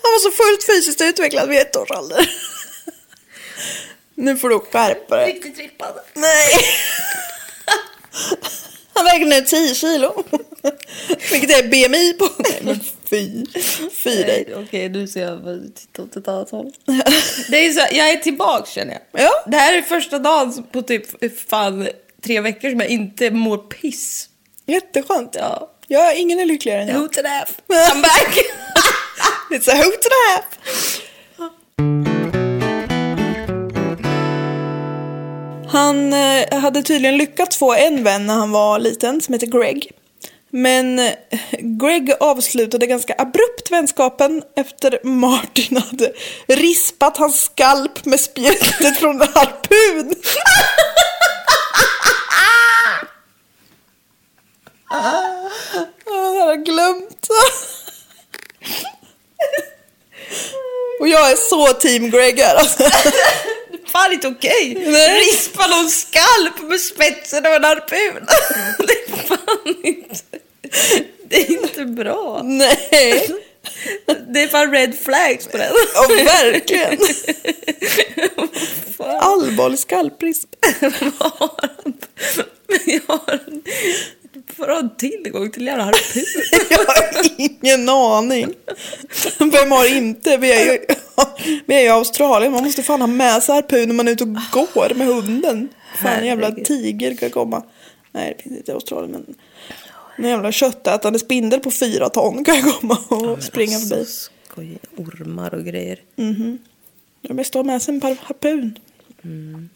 S3: Han var så fullt fysiskt utvecklad vid ett års ålder. Nu får du skärpa dig.
S4: Riktigt rippad.
S3: Nej. Han vägde nu 10 kilo. Vilket är BMI på. Nej men fy. Fy dig.
S4: Okej, nu ser jag bara titta åt ett annat håll. Det är så, jag är tillbaka känner jag.
S3: Ja.
S4: Det här är första dagen på typ fan tre veckor som jag inte mår piss.
S3: Jätteskönt. Ja. ja, ingen är lyckligare än jag.
S4: Who to that? I'm back!
S3: It's a hoot to the half. Han eh, hade tydligen lyckats få en vän när han var liten som heter Greg. Men eh, Greg avslutade ganska abrupt vänskapen efter Martin hade rispat hans skalp med spjutet från en harpun. Ah, Jag har glömt. Och jag är så team Greg här alltså.
S4: Fan inte okej! Rispa någon skalp med spetsen av en harpun. Det är fan inte... Det är inte bra.
S3: Nej.
S4: Det är fan red flags på den.
S3: Ja, verkligen. Allvarlig skalprisp.
S4: Men jag har en... Från tillgång till jävla harpun.
S3: Jag har ingen aning. Vem har inte? Vi är ju, vi är ju i Australien. Man måste fan ha med sig harpun när man är ute och går med hunden. Fan en jävla
S4: Herregud.
S3: tiger kan komma. Nej det finns inte i Australien men. En jävla köttätande spindel på fyra ton kan komma och springa förbi.
S4: Skojiga ormar och grejer.
S3: Det är bäst att ha med sig en par harpun. Mm.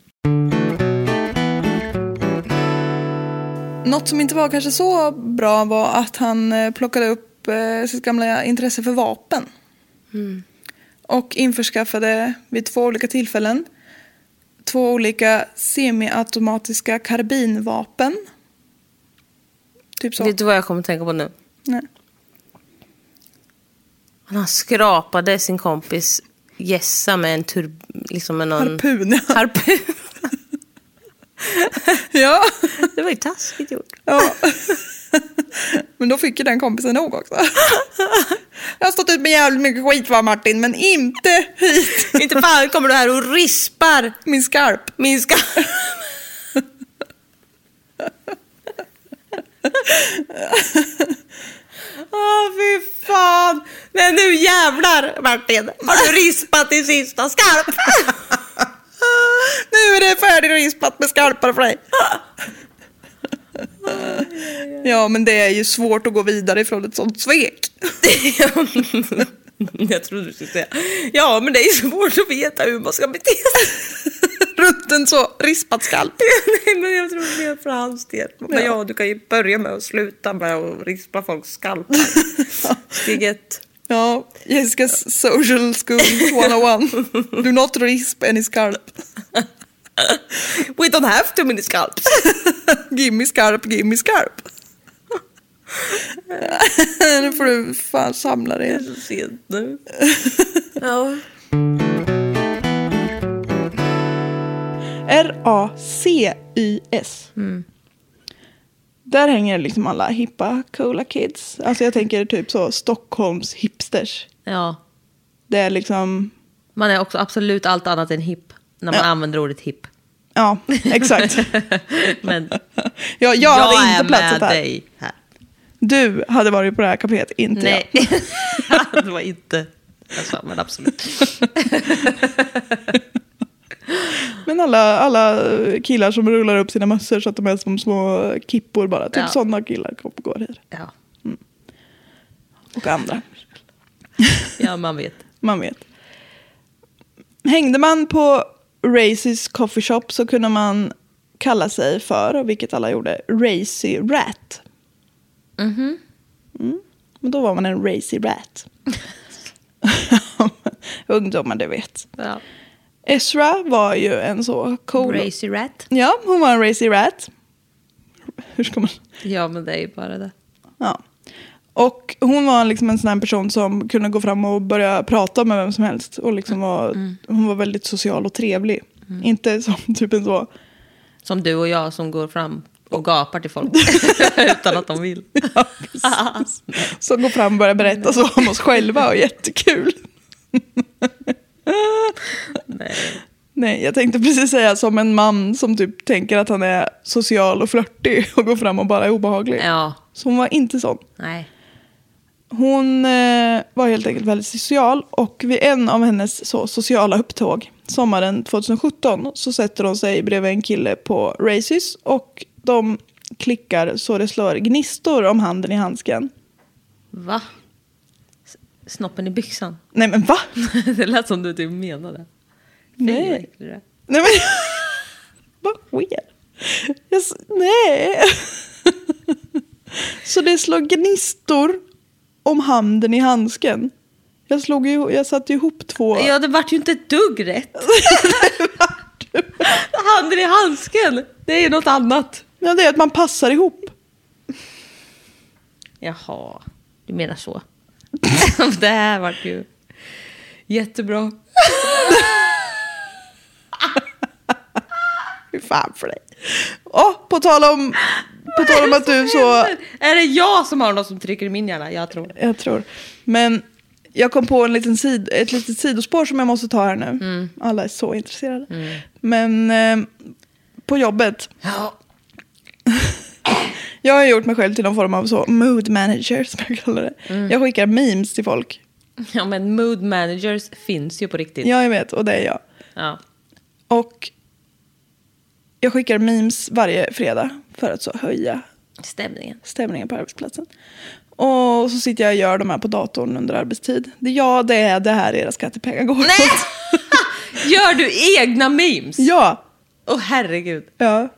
S3: Något som inte var kanske så bra var att han eh, plockade upp eh, sitt gamla intresse för vapen.
S4: Mm.
S3: Och införskaffade vid två olika tillfällen två olika semiautomatiska karbinvapen. Typ så.
S4: Vet du vad jag kommer att tänka på nu?
S3: Nej.
S4: Han skrapade sin kompis gässa med en tur... Liksom med någon...
S3: Harpun, ja.
S4: Harpun. Ja.
S7: Det var ju taskigt gjort.
S4: ja. Men då fick ju den kompisen nog också. Jag har stått ut med jävligt mycket skit va Martin, men inte hit.
S7: Inte fan kommer du här och rispar
S4: Min skarp.
S7: min ska... Åh fy fan! Men nu jävlar Martin, har du rispat din sista skarp?
S4: Nu är det färdigrispat med skarpar för dig. Ja, men det är ju svårt att gå vidare ifrån ett sånt svek.
S7: Jag trodde du skulle säga, ja men det är svårt att veta hur man ska bete sig.
S4: Runt en så rispat skalp.
S7: Nej men jag tror mer för hans del. Men ja. du kan ju börja med att sluta med att rispa folks skalpar. Steg ett.
S4: Ja, Jessicas social school 101. Do not risp any skarp.
S7: We don't have too many scalps.
S4: Gimme skarp, gimme skarp. nu får du fan samla dig.
S7: Så sent nu. Ja.
S3: R-A-C-Y-S.
S7: Mm.
S3: Där hänger liksom alla hippa, coola kids. Alltså jag tänker typ så Stockholms hipsters.
S7: ja,
S3: Det är liksom,
S7: man är också absolut allt annat än hipp när man använder ordet hipp.
S3: ja exakt.
S7: Men
S3: Ja, jag
S7: jag
S3: hade
S7: är
S3: inte
S7: med
S3: platsat här.
S7: dig här.
S3: Du hade varit på det här kaféet, inte jag.
S7: Nej, det var inte... Jag sa, men absolut.
S3: Men alla, alla killar som rullar upp sina mössor så att de är som små kippor bara. Typ
S7: Ja.
S3: sådana killar kom- går här.
S7: Ja,
S3: Och andra.
S7: ja man vet.
S3: Man vet. Hängde man på Racy's Coffee Shop så kunde man kalla sig för, vilket alla gjorde, Racy Rat. Mm. Men då var man en Racy Rat. Ungdomar, du vet.
S7: Ja.
S3: Ezra var ju en så cool...
S7: Crazy rat.
S3: Ja, hon var en Racy Rat. Hur ska man...
S7: Ja, men det är ju bara det.
S3: Ja. Och hon var liksom en sån här person som kunde gå fram och börja prata med vem som helst. Och liksom
S7: Mm.
S3: var, Hon var väldigt social och trevlig. Inte som typ en så...
S7: Som du och jag som går fram och gapar till folk utan att de vill.
S3: Ja, precis. som går fram och börjar berätta så om oss själva och jättekul.
S7: Nej.
S3: Nej, jag tänkte precis säga som en man som typ tänker att han är social och flörtig och går fram och bara är obehaglig.
S7: Ja,
S3: Så hon var inte sån.
S7: nej.
S3: Hon eh, var helt enkelt väldigt social och vid en av hennes så, sociala upptåg sommaren 2017 så sätter hon sig bredvid en kille på Races och de klickar så det slår gnistor om handen i handsken.
S7: Va? S- Snoppen i byxan?
S3: Nej men va?
S7: det lät som du typ menade. Fy, vad
S3: Nej.
S7: äcklig du är.
S3: Nej men vad sker? Jag, s- nej. så det slår gnistor om handen i handsken. Jag, slog ju, jag satte ihop två.
S7: Ja, det vart ju inte ett dugg rätt. Handen i handsken, det är ju något annat.
S3: Ja, det är att man passar ihop.
S7: Jaha, du menar så. det här vart ju jättebra.
S3: Fy fan för dig. Åh, på tal om, på tal om att du så...
S7: Är det jag som har något som trycker i min hjärna? Jag tror det.
S3: Jag tror. Men jag kom på en liten sid, ett litet sidospår som jag måste ta här nu. Alla är så intresserade. Men eh, på jobbet.
S7: Ja.
S3: Jag har gjort mig själv till någon form av så mood manager som jag kallar det. Jag skickar memes till folk.
S7: ja, men mood managers finns ju på riktigt.
S3: Ja, jag vet. Och det är jag.
S7: Ja.
S3: Och jag skickar memes varje fredag för att så höja
S7: Stämningen.
S3: stämningen på arbetsplatsen. Och så sitter jag och gör de här på datorn under arbetstid. Det- Ja, det är det här era skattepengar går
S7: Nej!
S3: åt.
S7: Gör du egna memes? Åh
S3: Ja,
S7: herregud.
S3: ja.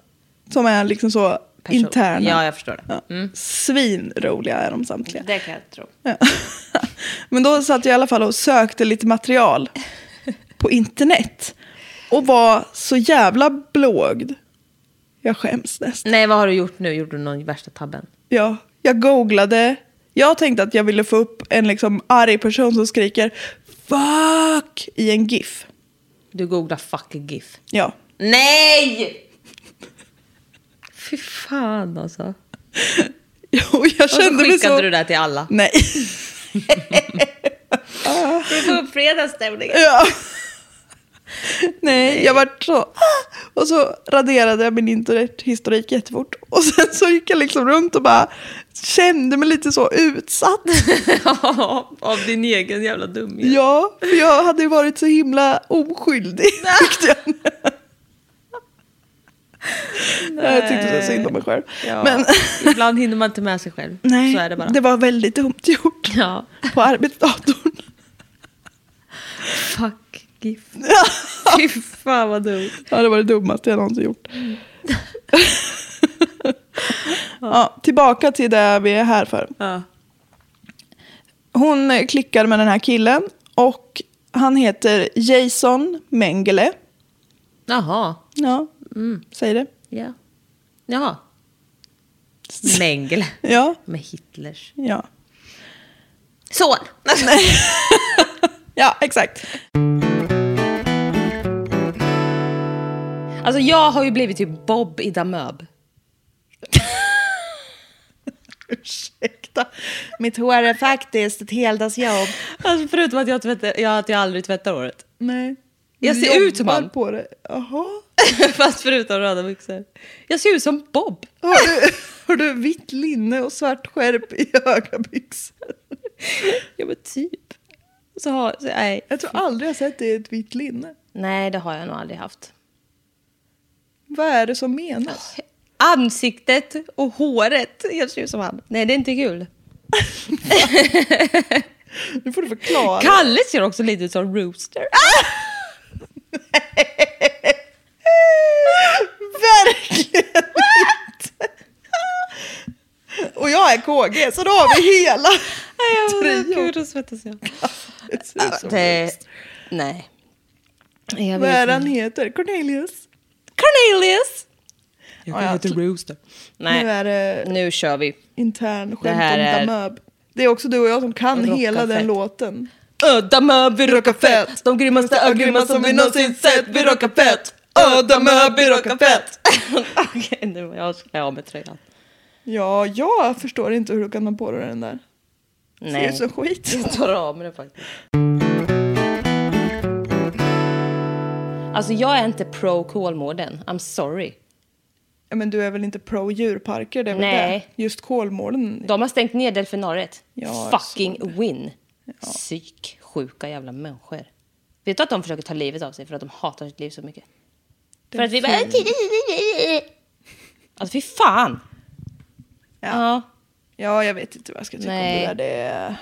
S3: Som är liksom så
S7: Person-
S3: interna.
S7: Ja, jag förstår det.
S3: Ja. Svinroliga är de samtliga.
S7: Det kan jag tro.
S3: Ja. Men då satt jag i alla fall och sökte lite material på internet. Och var så jävla blågd. Jag skäms nästan.
S7: Nej, vad har du gjort nu? Gjorde du någon värsta tabben?
S3: Ja, jag googlade. Jag tänkte att jag ville få upp en liksom arg person som skriker fuck i en GIF.
S7: Du googlar fuck GIF.
S3: Ja.
S7: Nej! Fy fan alltså.
S3: Och jag
S7: Och så
S3: kände mig
S7: skickade
S3: så...
S7: du det här till alla.
S3: Nej.
S7: Du får upp fredagsstämningen.
S3: Ja. Nej, jag var så... "Ah!" Och så raderade jag min internethistorik jättefort. Och sen så gick jag liksom runt och bara kände mig lite så utsatt.
S7: Av din egen jävla dumhet.
S3: Ja, för jag hade ju varit så himla oskyldig. Tyckte jag. Nej. Jag tyckte så synd om mig själv.
S7: Ja,
S3: Men
S7: Ibland hinner man inte med sig själv.
S3: nej,
S7: Så är det bara.
S3: var väldigt dumt gjort
S7: Ja,
S3: på arbetsdatorn.
S7: fuck GIF. Fy fan vad dumt.
S3: Ja, det var det dummaste jag någonsin gjort.
S7: Mm.
S3: ja, tillbaka till det vi är här för.
S7: Ja.
S3: Hon eh, klickar med den här killen och han heter Jason Mengele.
S7: Jaha.
S3: Ja,
S7: Mm.
S3: säg det.
S7: Ja. Jaha. Mengele.
S3: Ja,
S7: Med Hitlers
S3: ja.
S7: son.
S3: Ja, exakt.
S7: Alltså jag har ju blivit typ Bob i Damöb.
S3: Ursäkta. Mitt hår är faktiskt ett heldagsjobb.
S7: Alltså förutom att jag, tvättar, jag, att jag aldrig tvättar håret.
S3: Nej.
S7: Jag
S3: Du
S7: ser ut som
S3: jobbar
S7: han.
S3: på det. Jaha.
S7: Fast förutom röda byxor. Jag ser ut som Bob.
S3: Har du, har du vitt linne och svart skärp i höga byxor?
S7: Jag bara typ. Så har, så, nej.
S3: Jag tror aldrig jag sett dig i ett vitt linne.
S7: nej, det har jag nog aldrig haft.
S3: Vad är det som menas?
S7: Ansiktet och håret. Jag ser ut som han. Nej, det är inte kul.
S3: Nu får du förklara.
S7: Kalle ser också lite ut som Rooster.
S3: Verkligen inte! Och jag är KG, så då har vi hela...
S7: Nej,
S3: Trio.
S7: Gud, då svettas jag.
S3: Det ser ut som
S7: Det,
S3: växt.
S7: nej. Jag
S3: Vad är
S7: vet
S3: han
S7: inte.
S3: heter? Cornelius?
S7: Cornelius!
S3: Ja, ja.
S7: Rooster.
S3: Nu
S7: Nej,
S3: är det
S7: nu kör vi.
S3: intern
S7: Det
S3: skämt
S7: här
S3: om
S7: är-
S3: Damöb. Det är också du och jag som kan
S7: Rockar
S3: hela den
S7: fett.
S3: låten.
S7: Ödamöb, vi rockar fett. De grymmaste
S3: Mesta
S7: av grymma som vi någonsin sett. Vi rockar fett. Ödamöb, vi rockar fett. Okej, nu var jag ska av med tröjan.
S3: Ja, jag förstår inte hur du kan ha på dig den där. Ser ut som skit.
S7: Jag tar av mig den faktiskt. Alltså jag är inte pro Kolmården. I'm sorry.
S3: Ja, Men du är väl inte pro djurparker? Det är väl
S7: Nej.
S3: Det. Just Kolmården.
S7: De har stängt ner delfinariet.
S3: Ja, alltså. jag
S7: Fucking win. Psyk, sjuka jävla människor. Vet du att de försöker ta livet av sig för att de hatar sitt liv så mycket? för att vi bara... Alltså fy fan! Ja.
S3: Ja, jag vet inte vad jag ska tycka
S7: Nej.
S3: om det där. Det är...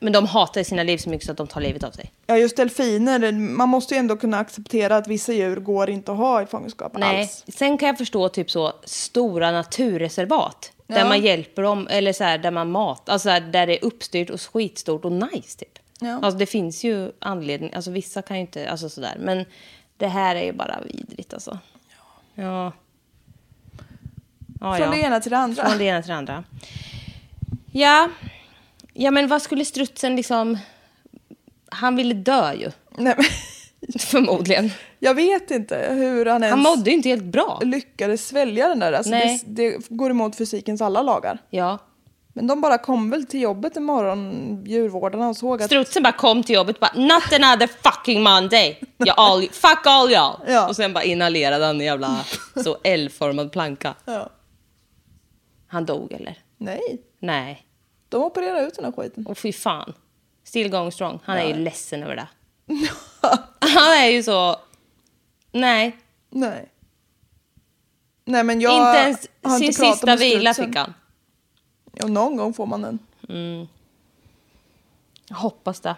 S7: Men de hatar sina liv så mycket så att de tar livet av sig.
S3: Ja, just delfiner. Man måste ju ändå kunna acceptera att vissa djur går inte att ha i fångenskap
S7: Nej.
S3: alls.
S7: Sen kan jag förstå typ så stora naturreservat. Där man hjälper dem, eller så här, där man mat, alltså där, där det är uppstyrt och skitstort och nice typ.
S3: Ja.
S7: Alltså det finns ju anledning, alltså vissa kan ju inte, alltså sådär. Men det här är ju bara vidrigt alltså. Ja. Ja. ja
S3: Från det ena till det andra.
S7: Från det ena till det andra. Ja. Ja men vad skulle strutsen liksom... Han ville dö ju.
S3: Nej, men,
S7: Förmodligen.
S3: jag vet inte hur han ens
S7: Han mådde ju inte helt bra.
S3: lyckades svälja den där. Alltså, det,
S7: Nej.
S3: det går emot fysikens alla lagar.
S7: Ja.
S3: Men de bara kom väl till jobbet en morgon, djurvårdarna, och såg att...
S7: Strutsen bara kom till jobbet bara “Not another fucking Monday! Jag all, fuck all y'all!”
S3: Ja.
S7: Och sen bara inhalerade han en jävla så L-formad planka.
S3: Ja.
S7: Han dog eller?
S3: Nej,
S7: Nej.
S3: de opererade ut den här skiten.
S7: Och fy fan. Still going strong. Han är ju ledsen över det. Han är ju så... Nej.
S3: Nej. Nej, men jag
S7: inte ens
S3: har
S7: sin
S3: inte pratat
S7: sista
S3: med
S7: vila
S3: strutsen.
S7: fick han.
S3: Ja, någon gång får man den.
S7: Jag hoppas det.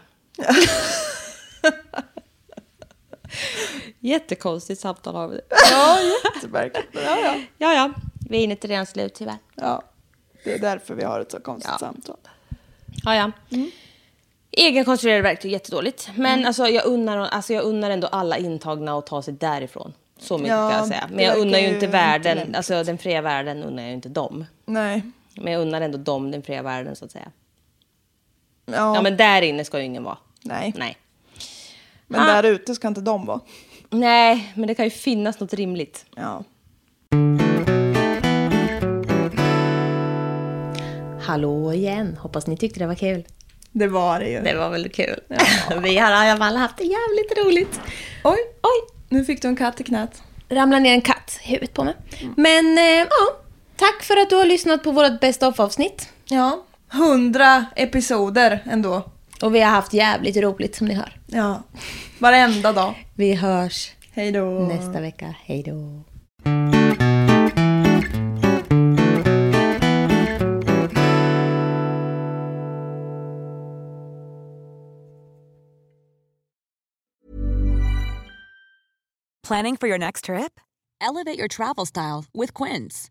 S7: Jättekonstigt samtal har vi.
S3: Ja, jätteverkligt. Men Ja, ja.
S7: Ja, ja. Vi är inne till redan slut tyvärr.
S3: ja, det är därför vi har ett så konstigt samtal.
S7: Ja, ja. Egenkonstruerade verktyg, jättedåligt. Men alltså, jag, unnar, alltså, jag unnar ändå alla intagna att ta sig därifrån. Så mycket
S3: Ja,
S7: kan jag säga.
S3: det
S7: Men jag unnar ju
S3: verkar
S7: inte
S3: ju
S7: världen,
S3: inte lämpligt.
S7: alltså den fria världen unnar jag ju inte dem.
S3: Nej.
S7: Men jag unnar ändå dem den fria världen så att säga.
S3: Ja,
S7: Ja, men där inne ska ju ingen vara.
S3: nej. Ah.
S7: Nej.
S3: Men där ute ska inte de vara.
S7: Nej, men det kan ju finnas något rimligt.
S3: Ja.
S7: Hallå igen! Hoppas ni tyckte det var kul.
S3: Det var det ju.
S7: Det var väldigt kul. Vi har i alla fall haft det jävligt roligt.
S3: Oj,
S7: Oj,
S3: nu fick du en katt i knät.
S7: ramlar ner en katt i huvudet på mig. Men eh, ja, tack för att du har lyssnat på vårt best of-avsnitt.
S3: Ja. Hundra episoder ändå.
S7: Och vi har haft jävligt roligt som ni hör.
S3: Ja. Varenda dag.
S7: Vi hörs
S3: Hej då.
S7: nästa vecka. Hej då!
S1: Planning for your next trip? Elevate your travel style with Quince.